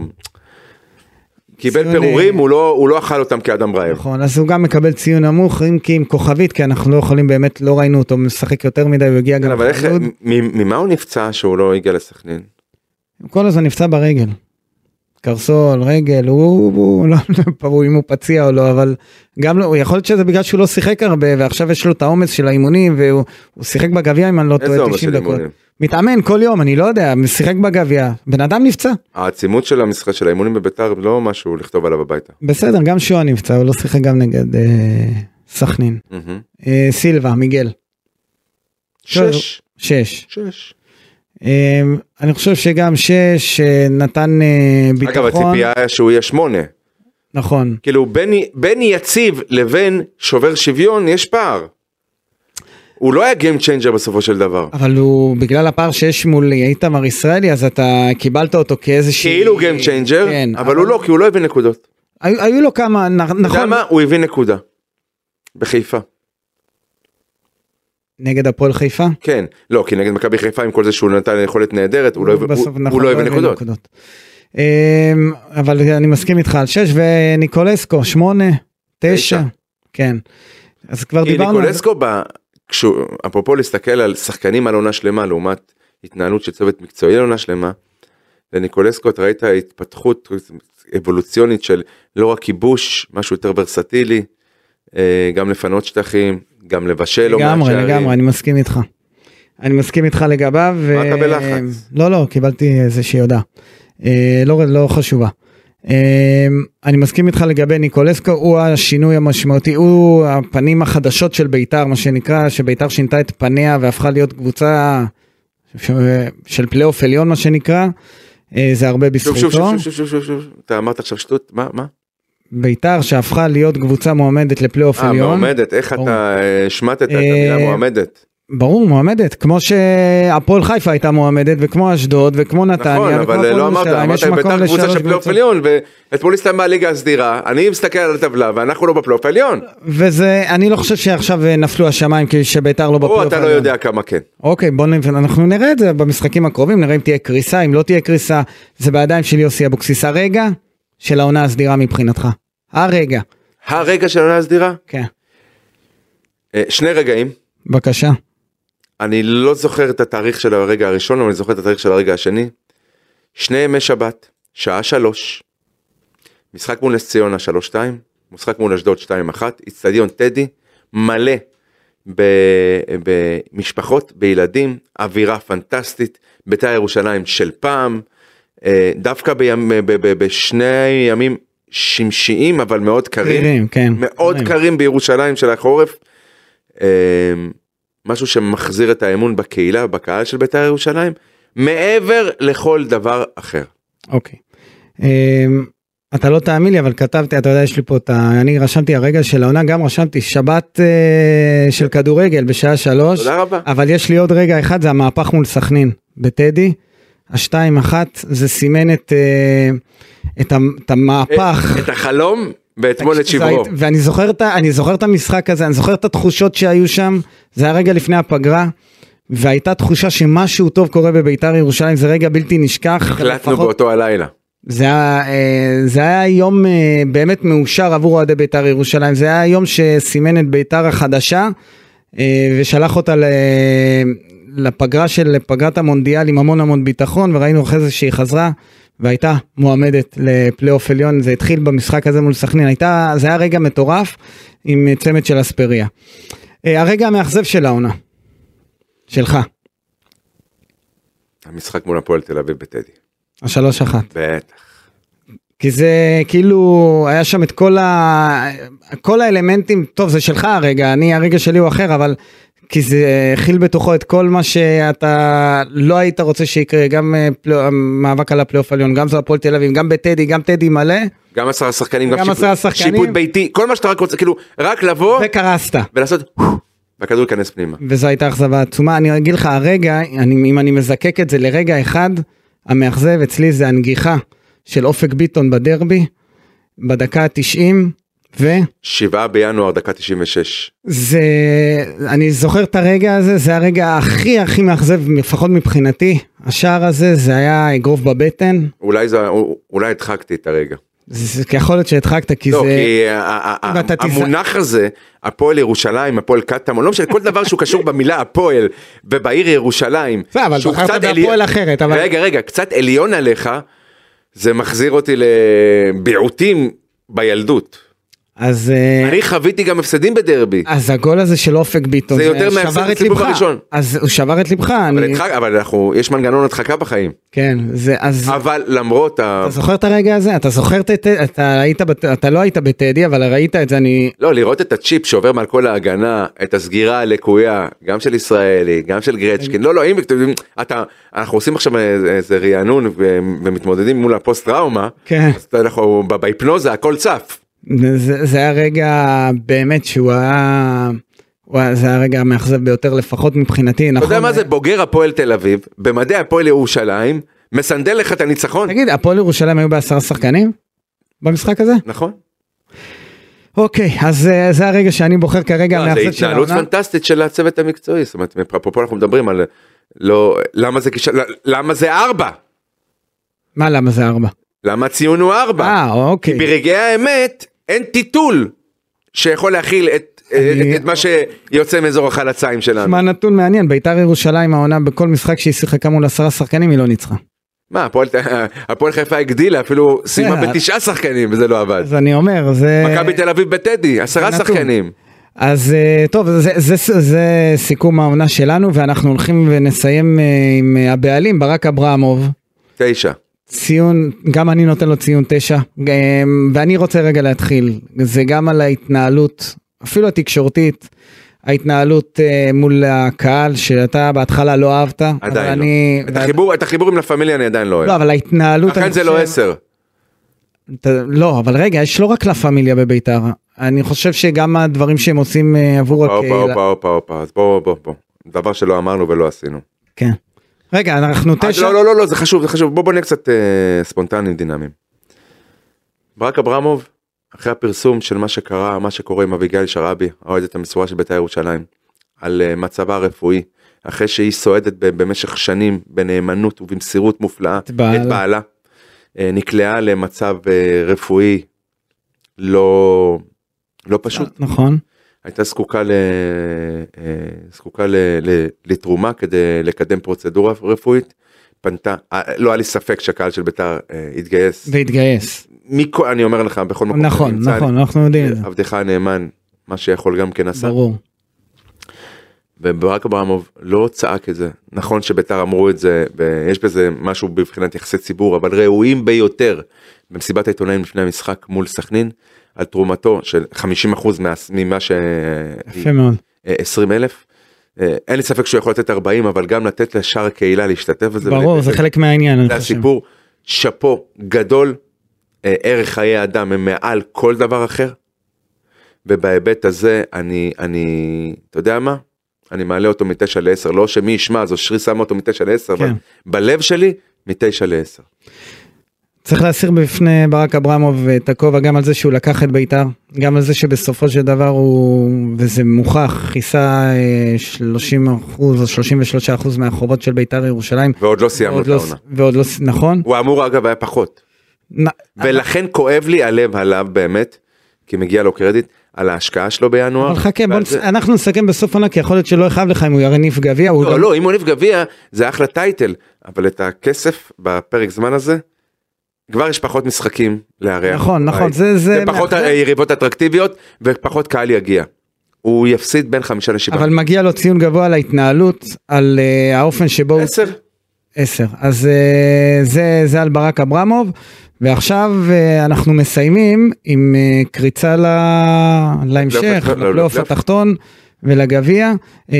C: קיבל
B: ציון,
C: פירורים,
B: אה,
C: הוא לא- הוא לא אכל אותם כאדם רעב.
B: נכון, אז הוא גם מקבל ציון נמוך, אם כי עם כוכבית, כי אנחנו לא יכולים באמת, לא ראינו אותו משחק יותר מדי, הוא הגיע
C: כן,
B: גם
C: אבל איך,
B: חלוד.
C: מ- ממה הוא נפצע שהוא לא הגיע לסכנין?
B: הוא כל הזמן נפצע ברגל. קרסול, רגל, הוא, הוא לא ברור אם הוא פציע או לא, אבל גם לא, יכול להיות שזה בגלל שהוא לא שיחק הרבה, ועכשיו יש לו את העומס של האימונים, והוא הוא שיחק בגביע אם אני לא
C: איזה
B: טועה
C: עומס
B: 90
C: של
B: דקות.
C: אימונים.
B: מתאמן כל יום, אני לא יודע, שיחק בגביע, בן אדם נפצע.
C: העצימות של המשחק של האימונים בביתר לא משהו לכתוב עליו הביתה.
B: בסדר, גם שואה נפצע, הוא לא שיחק גם נגד אה, סכנין.
C: מהמם.
B: אה, סילבה, מיגל,
C: שש.
B: שש.
C: שש.
B: אה, אני חושב שגם שש אה, נתן אה, ביטחון.
C: אגב הציפייה היה שהוא יהיה שמונה.
B: נכון.
C: כאילו בין, בין יציב לבין שובר שוויון יש פער. הוא לא היה Game Changer בסופו של דבר.
B: אבל הוא בגלל הפער שיש מול איתמר ישראלי אז אתה קיבלת אותו כאיזושהי
C: כאילו הוא Game Changer,
B: כן,
C: אבל הוא לא, כי הוא לא הביא נקודות.
B: היו, היו לו כמה נ-
C: אתה יודע
B: נכון
C: מה? הוא הביא נקודה. בחיפה.
B: נגד הפועל חיפה
C: כן. לא, כי נגד מכבי חיפה עם כל זה שהוא נתן יכולת נהדרת, הוא לא הביא-
B: בסוף,
C: הוא-
B: נכון,
C: הוא לא הביא נקודות.
B: אמ, אבל אני מסכים איתך על 6 וניקולסקו 8
C: תשע.
B: 9 כן אז כבר
C: כי
B: לא דיברנו על זה.
C: ניקולסקו, ב... כשהוא, אפרופו להסתכל על שחקנים על עונה שלמה לעומת התנהלות של צוות מקצועי על עונה שלמה, לניקולסקו אתה ראית התפתחות אבולוציונית של לא רק כיבוש, משהו יותר ורסטילי, אה, גם לפנות שטחים, גם לבשל לא מעט
B: לגמרי
C: שערים.
B: לגמרי אני מסכים איתך. אני מסכים איתך לגביו.
C: מה אתה
B: אה,
C: בלחץ?
B: לא לא קיבלתי איזושהי הודעה. אה, לא לא חשובה. אה, אני מסכים איתך לגבי ניקולסקו הוא השינוי המשמעותי הוא הפנים החדשות של בית"ר מה שנקרא שבית"ר שינתה את פניה והפכה להיות קבוצה ש- של פלייאוף עליון מה שנקרא. אה, זה הרבה
C: שוב, שוב,
B: בזכותו.
C: שוב, שוב, שוב, שוב, שוב, אתה אמרת עכשיו שטות, מה, מה?
B: בית"ר שהפכה להיות קבוצה מועמדת לפלייאוף
C: אה,
B: עליון.
C: מועמדת, איך
B: ברור.
C: אתה אה, השמטת את
B: אה,
C: המילה מועמדת?
B: ברור, מועמדת, כמו שהפועל חיפה הייתה מועמדת, וכמו אשדוד, וכמו נתניה,
C: נכון,
B: וכמו
C: אבל אה,
B: הפועל
C: לא אמרת,
B: ירושלים,
C: אמרת
B: יש מקום
C: ביתר קבוצה
B: לשלוש
C: של פלייאוף
B: קבוצות.
C: עליון, ואתמול הסתיימה הליגה הסדירה, אני מסתכל על הטבלה ואנחנו לא בפלייאוף העליון.
B: וזה, אני לא חושב שעכשיו אה, נפלו השמיים, כי שביתר לא בפלייאוף
C: או אתה לא
B: העליון.
C: יודע כמה כן.
B: אוקיי, בוא נ... אנחנו נראה את זה במשחקים הקרובים, נראה אם תהיה קריסה, אם לא תהיה קריסה, זה בידיים של יוסי אבוקסיס. הרגע של העונה הסדירה מבחינתך. הרגע.
C: הרגע של העונה הסדירה?
B: כן.
C: אה, שני רגעים.
B: בבקשה.
C: אני לא זוכר את התאריך של הרגע הראשון, אבל אני זוכר את התאריך של הרגע השני. שני ימי שבת, שעה שלוש. משחק מול נס ציונה שלוש שתיים, משחק מול אשדוד שתיים אחת, איצטדיון טדי, מלא ב- במשפחות, בילדים, אווירה פנטסטית, בית"ר ירושלים של פעם, אה, דווקא בימ, ב, ב, ב, בשני ימים שמשיים אבל מאוד קרים.
B: קרירים, כן.
C: מאוד
B: קרים.
C: קרים בירושלים של החורף. אמ, משהו שמחזיר את האמון בקהילה, בקהל של בית"ר ירושלים, מעבר לכל דבר אחר.
B: אוקיי. אמ, אתה לא תאמין לי אבל כתבתי אתה יודע יש לי פה את ה... אני רשמתי הרגע של העונה גם רשמתי שבת אה, של כדורגל בשעה שלוש
C: תודה רבה.
B: אבל יש לי עוד רגע אחד זה המהפך מול סכנין בטדי. השתיים אחת זה סימן את, אה, את, ה- את המהפך.
C: את החלום ואתמול אה, את
B: תקשיב, זה
C: שברו.
B: היית- ואני זוכר את, ה- אני זוכר את המשחק הזה, אני זוכר את התחושות שהיו שם, זה היה רגע לפני הפגרה, והייתה תחושה שמשהו טוב קורה בביתר ירושלים, זה רגע בלתי נשכח.
C: החלטנו
B: לפחות-
C: באותו הלילה.
B: זה היה, אה, זה היה יום אה, באמת מאושר עבור אוהדי בית"ר ירושלים, זה היה יום שסימן את בית"ר החדשה אה, ושלח אותה ל- לפגרה של פגרת המונדיאל עם המון המון ביטחון וראינו אחרי זה שהיא חזרה והייתה מועמדת לפלייאוף עליון, זה התחיל במשחק הזה מול סכנין, הייתה, זה היה רגע מטורף עם צמד של אספריה. אה, הרגע המאכזב של העונה, שלך,
C: המשחק מול הפועל תל אביב בטדי.
B: השלוש אחת.
C: בטח.
B: כי זה כאילו היה שם את כל, ה... כל האלמנטים, טוב זה שלך הרגע, אני הרגע שלי הוא אחר, אבל כי זה הכיל בתוכו את כל מה שאתה לא היית רוצה שיקרה, גם אה, פל... מאבק על הפלייאוף העליון, גם זה הפועל תל אביב, גם בטדי, גם טדי מלא,
C: גם עשרה שחקנים, גם,
B: גם
C: שיפוט,
B: עשרה שחקנים.
C: שיפוט ביתי, כל מה שאתה רק רוצה, כאילו, רק לבוא
B: וקרסת.
C: ולעשות, והכדור ייכנס פנימה.
B: וזו הייתה אכזבה עצומה, אני אגיד לך הרגע, אני, אם אני מזקק את זה לרגע אחד, המאכזב אצלי זה הנגיחה של אופק ביטון בדרבי, בדקה ה-90, ו...
C: שבעה בינואר, דקה 96.
B: זה, אני זוכר את הרגע הזה, זה הרגע הכי הכי מאכזב, לפחות מבחינתי. השער הזה, זה היה אגרוף בבטן.
C: אולי זה, אולי הדחקתי את הרגע.
B: זה, זה- יכול להיות שהדחקת, כי
C: לא,
B: זה...
C: כי ה- ה- ה-
B: ואתה תיז-
C: אה, המונח הזה, הפועל ירושלים, הפועל קטמון, לא משנה, כל דבר שהוא קשור במילה הפועל ובעיר ירושלים,
B: זה, לא, אבל
C: שהוא
B: בחרת
C: קצת
B: בהפועל אחרת, אבל-
C: רגע, רגע, קצת עליון עליך, זה מחזיר אותי לביעוטים בילדות.
B: אז, אה,
C: אני חוויתי גם הפסדים בדרבי,
B: אז הגול הזה של אופק ביטון,
C: זה יותר מההפסד
B: שבר את
C: בסיבוב
B: ליבך.
C: הראשון.
B: אז הוא שבר את ליבך,
C: אבל
B: אני...
C: הדחק- אבל אנחנו, יש מנגנון הדחקה בחיים,
B: כן, זה, אז...
C: אבל למרות ה...
B: אתה זוכר את הרגע הזה? אתה זוכר את... אתה היית... בת- אתה לא היית בטדי, אבל ראית את זה, אני...
C: לא, לראות את הצ'יפ שעובר מעל כל ההגנה, את הסגירה הלקויה, גם של ישראלי, גם של גרצ'קין, לא, לא, אם אתם יודעים, אתה, אנחנו עושים עכשיו איזה איזה רענון ו- ומתמודדים מול הפוסט טראומה,
B: כן.
C: אז אנחנו ב- בהיפנוזה הכל צף.
B: זה, זה היה רגע באמת שהוא היה... הוא היה- זה היה הרגע המאכזב ביותר לפחות מבחינתי,
C: אתה
B: נכון?
C: יודע מה זה בוגר הפועל תל אביב, במדי הפועל ירושלים, מסנדל לך את הניצחון,
B: תגיד, הפועל ירושלים היו בעשרה שחקנים? במשחק הזה?
C: נכון?
B: אוקיי, אז אה, זה הרגע שאני בוחר כרגע
C: לא, זה
B: המאכזב של
C: התנהלות
B: העונה.
C: פנטסטית של הצוות המקצועי, זאת אומרת, אפרופו אנחנו מדברים על, לא, למה זה כישלון, למה זה ארבע?
B: מה, למה זה ארבע?
C: למה הציון הוא ארבע?
B: אה, אוקיי.
C: ברגעי האמת אין טיטול שיכול להכיל את, אה,
B: אני-
C: את, את מה שיוצא מאזור החלציים שלנו.
B: מה נתון מעניין, ביתר ירושלים העונה בכל משחק שהיא שיחקה מול עשרה שחקנים היא לא ניצחה.
C: מה, הפועל, הפועל חיפה הגדילה, אפילו סיימה
B: בסדר.
C: בתשעה שחקנים וזה לא עבד.
B: אז אני אומר, זה...
C: מכבי תל אביב בטדי, עשרה
B: נתון.
C: שחקנים.
B: אז אה, טוב, זה, זה, זה, זה סיכום העונה שלנו, ואנחנו הולכים ונסיים אה, עם אה, הבעלים, ברק אברמוב.
C: תשע.
B: ציון, גם אני נותן לו ציון תשע, גם- ואני רוצה רגע להתחיל, זה גם על ההתנהלות, אפילו התקשורתית, ההתנהלות אה, מול הקהל, שאתה בהתחלה לא אהבת, אבל
C: עדיין לא.
B: אני...
C: את החיבור, את החיבור עם לה פמיליה אני עדיין לא
B: אה, לא,
C: אוהב.
B: אבל ההתנהלות...
C: לכן
B: אני
C: זה לא
B: חושב-
C: עשר.
B: אתה- לא, אבל רגע, יש לא רק לה פמיליה בביתר, אני חושב שגם הדברים שהם עושים אה, עבור
C: הופה
B: הקהילה...
C: הופה הופה הופה, אז בוא בוא בוא. דבר שלא אמרנו ולא עשינו.
B: כן. רגע, אנחנו
C: אז
B: תשע...
C: לא לא לא לא זה חשוב זה חשוב בוא בוא נהיה קצת אה, ספונטניים דינמיים. ברק אברמוב אחרי הפרסום של מה שקרה מה שקורה עם אביגיל שרעבי האוהדת המסורה של בית"ר ירושלים על אה, מצבה הרפואי אחרי שהיא סועדת ב- במשך שנים בנאמנות ובמסירות מופלאה
B: את בעלה.
C: את בעלה אה, נקלעה למצב אה, רפואי לא לא פשוט
B: נכון.
C: הייתה זקוקה, ל... אה, זקוקה ל... ל... לתרומה כדי לקדם פרוצדורה רפואית. פנתה, אה, לא היה לי ספק שהקהל של בית"ר אה, יתגייס.
B: והתגייס.
C: מכל, אני אומר לך, בכל מקום.
B: נכון,
C: שנמצא,
B: נכון, אנחנו יודעים את זה.
C: אני- עבדך הנאמן, מה שיכול גם כן אה, עשה.
B: ברור.
C: וברק אברמוב לא צעק את זה. נכון שבית"ר אמרו את זה, ויש בזה משהו בבחינת יחסי ציבור, אבל ראויים ביותר במסיבת העיתונאים לפני המשחק מול סכנין, על תרומתו של 50% מה... ממה ש...
B: יפה מאוד.
C: 20 אלף. אה, אין לי ספק שהוא יכול לתת 40 אבל גם לתת לשאר הקהילה להשתתף בזה.
B: ברור,
C: ולתת-
B: זה חלק מהעניין,
C: זה
B: אני חושב.
C: הסיפור. שאפו גדול. אה, ערך חיי אדם הם מעל כל דבר אחר. ובהיבט הזה אני אני אתה יודע מה אני מעלה אותו מתשע לעשר לא שמי ישמע אז אושרי שמה אותו מתשע לעשר אבל
B: כן.
C: בלב שלי מתשע לעשר.
B: צריך להסיר בפני ברק אברמוב את הכובע גם על זה שהוא לקח את בית"ר, גם על זה שבסופו של דבר הוא, וזה מוכח, כיסה אה, 30 אחוז או 33 אחוז מהחובות של בית"ר ירושלים.
C: ועוד לא סיימנו
B: ועוד לא-
C: את העונה.
B: ועוד לא, ס- נכון?
C: הוא אמור אגב היה פחות.
B: נ-
C: ולכן כואב לי הלב עליו באמת. כי מגיע לו קרדיט על ההשקעה שלו בינואר.
B: אבל חכה, בוא
C: ועל
B: נס-
C: זה-
B: אנחנו נסכם בסוף עונה, כי יכול להיות שלא יכאב לך אם הוא יניף גביע, הוא
C: לא,
B: גם-
C: לא, אם הוא הניף גביע זה אחלה טייטל, אבל את הכסף בפרק זמן הזה, כבר יש פחות משחקים לארח.
B: נכון,
C: בבית.
B: נכון, זה- זה
C: ופחות
B: מאכזב.
C: יריבות אטרקטיביות ופחות קהל יגיע. הוא יפסיד בין חמישה לשבעה.
B: אבל מגיע לו ציון גבוה על ההתנהלות, על אה, האופן שבו הוא...
C: עשר.
B: עשר. אז אה, זה, זה על ברק אברמוב, ועכשיו אה, אנחנו מסיימים עם אה, קריצה ל... להמשך,
C: התחתון,
B: לפלייאוף
C: לפלייאוף.
B: התחתון ולגביע, אה,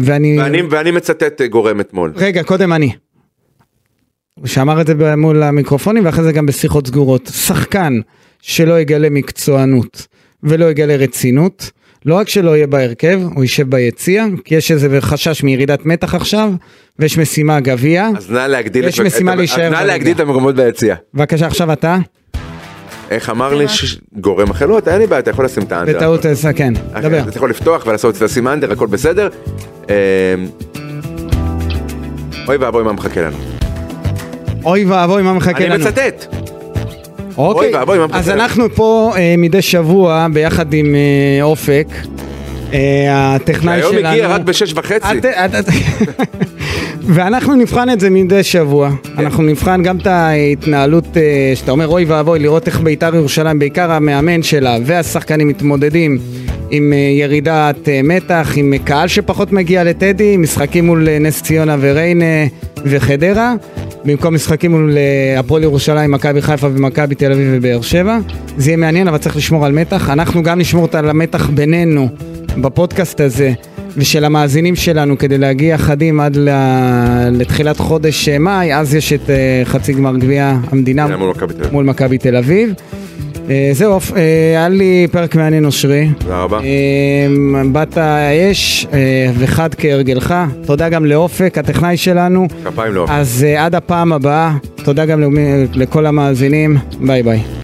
B: ואני...
C: ואני, ואני מצטט אה, גורם אתמול.
B: רגע, קודם אני. הוא שאמר את זה ב- מול המיקרופונים ואחרי זה גם בשיחות סגורות. שחקן שלא יגלה מקצוענות ולא יגלה רצינות, לא רק שלא יהיה בהרכב, הוא יישב ביציע, כי יש איזה חשש מירידת מתח עכשיו, ויש משימה גביע.
C: אז נא להגדיל
B: יש
C: את-
B: משימה
C: את-
B: להישאר
C: אז נא
B: בליגה.
C: להגדיל את המקומות ביציע.
B: בבקשה, עכשיו אתה,
C: איך אמר לי ש- גורם אחר? לא, אתה- אין לי בעיה, אתה יכול לשים את האנדר.
B: בטעות, אה, כן,
C: אוקיי,
B: דבר.
C: אתה יכול לפתוח ולעשות לשים אנדר, הכל בסדר. אה, אוי ואבוי מה מחכה לנו.
B: אוי ואבוי, מה מחכה
C: אני
B: לנו?
C: מצטט.
B: אוקיי,
C: אוי ואבוי, מה
B: אז
C: מחכה לנו?
B: אנחנו פה אה, מדי שבוע ביחד עם אה, אופק, אה, הטכנאי
C: היום
B: שלנו.
C: הגיע רק בשש וחצי.
B: את- את- את- ואנחנו נבחן את זה מדי שבוע, אנחנו נבחן גם את ההתנהלות אה, שאתה אומר אוי ואבוי, לראות איך בית"ר ירושלים, בעיקר המאמן שלה והשחקנים מתמודדים עם אה, ירידת אה, מתח, עם אה, קהל שפחות מגיע לטדי, משחקים מול אה, נס ציונה וריינה וחדרה, במקום משחקים מול אה, הפועל ירושלים, מכבי חיפה ומכבי תל אביב ובאר שבע. זה יהיה מעניין, אבל צריך לשמור על מתח. אנחנו גם נשמור את- על המתח בינינו בפודקאסט הזה. ושל המאזינים שלנו כדי להגיע חדים עד ל- לתחילת חודש אה, מאי, אז יש את אה, חצי גמר גביע המדינה
C: זה היה מול מכבי תל אביב.
B: מול מכבי תל אביב. אה, זהו, אוף, אה, היה לי פרק מעניין אושרי.
C: תודה רבה.
B: אה, באת אש אה, וחד כהרגלך. תודה גם לאופק, הטכנאי שלנו.
C: כפיים לא.
B: אז אה, עד הפעם הבאה, תודה גם למי- לכל המאזינים. ביי ביי.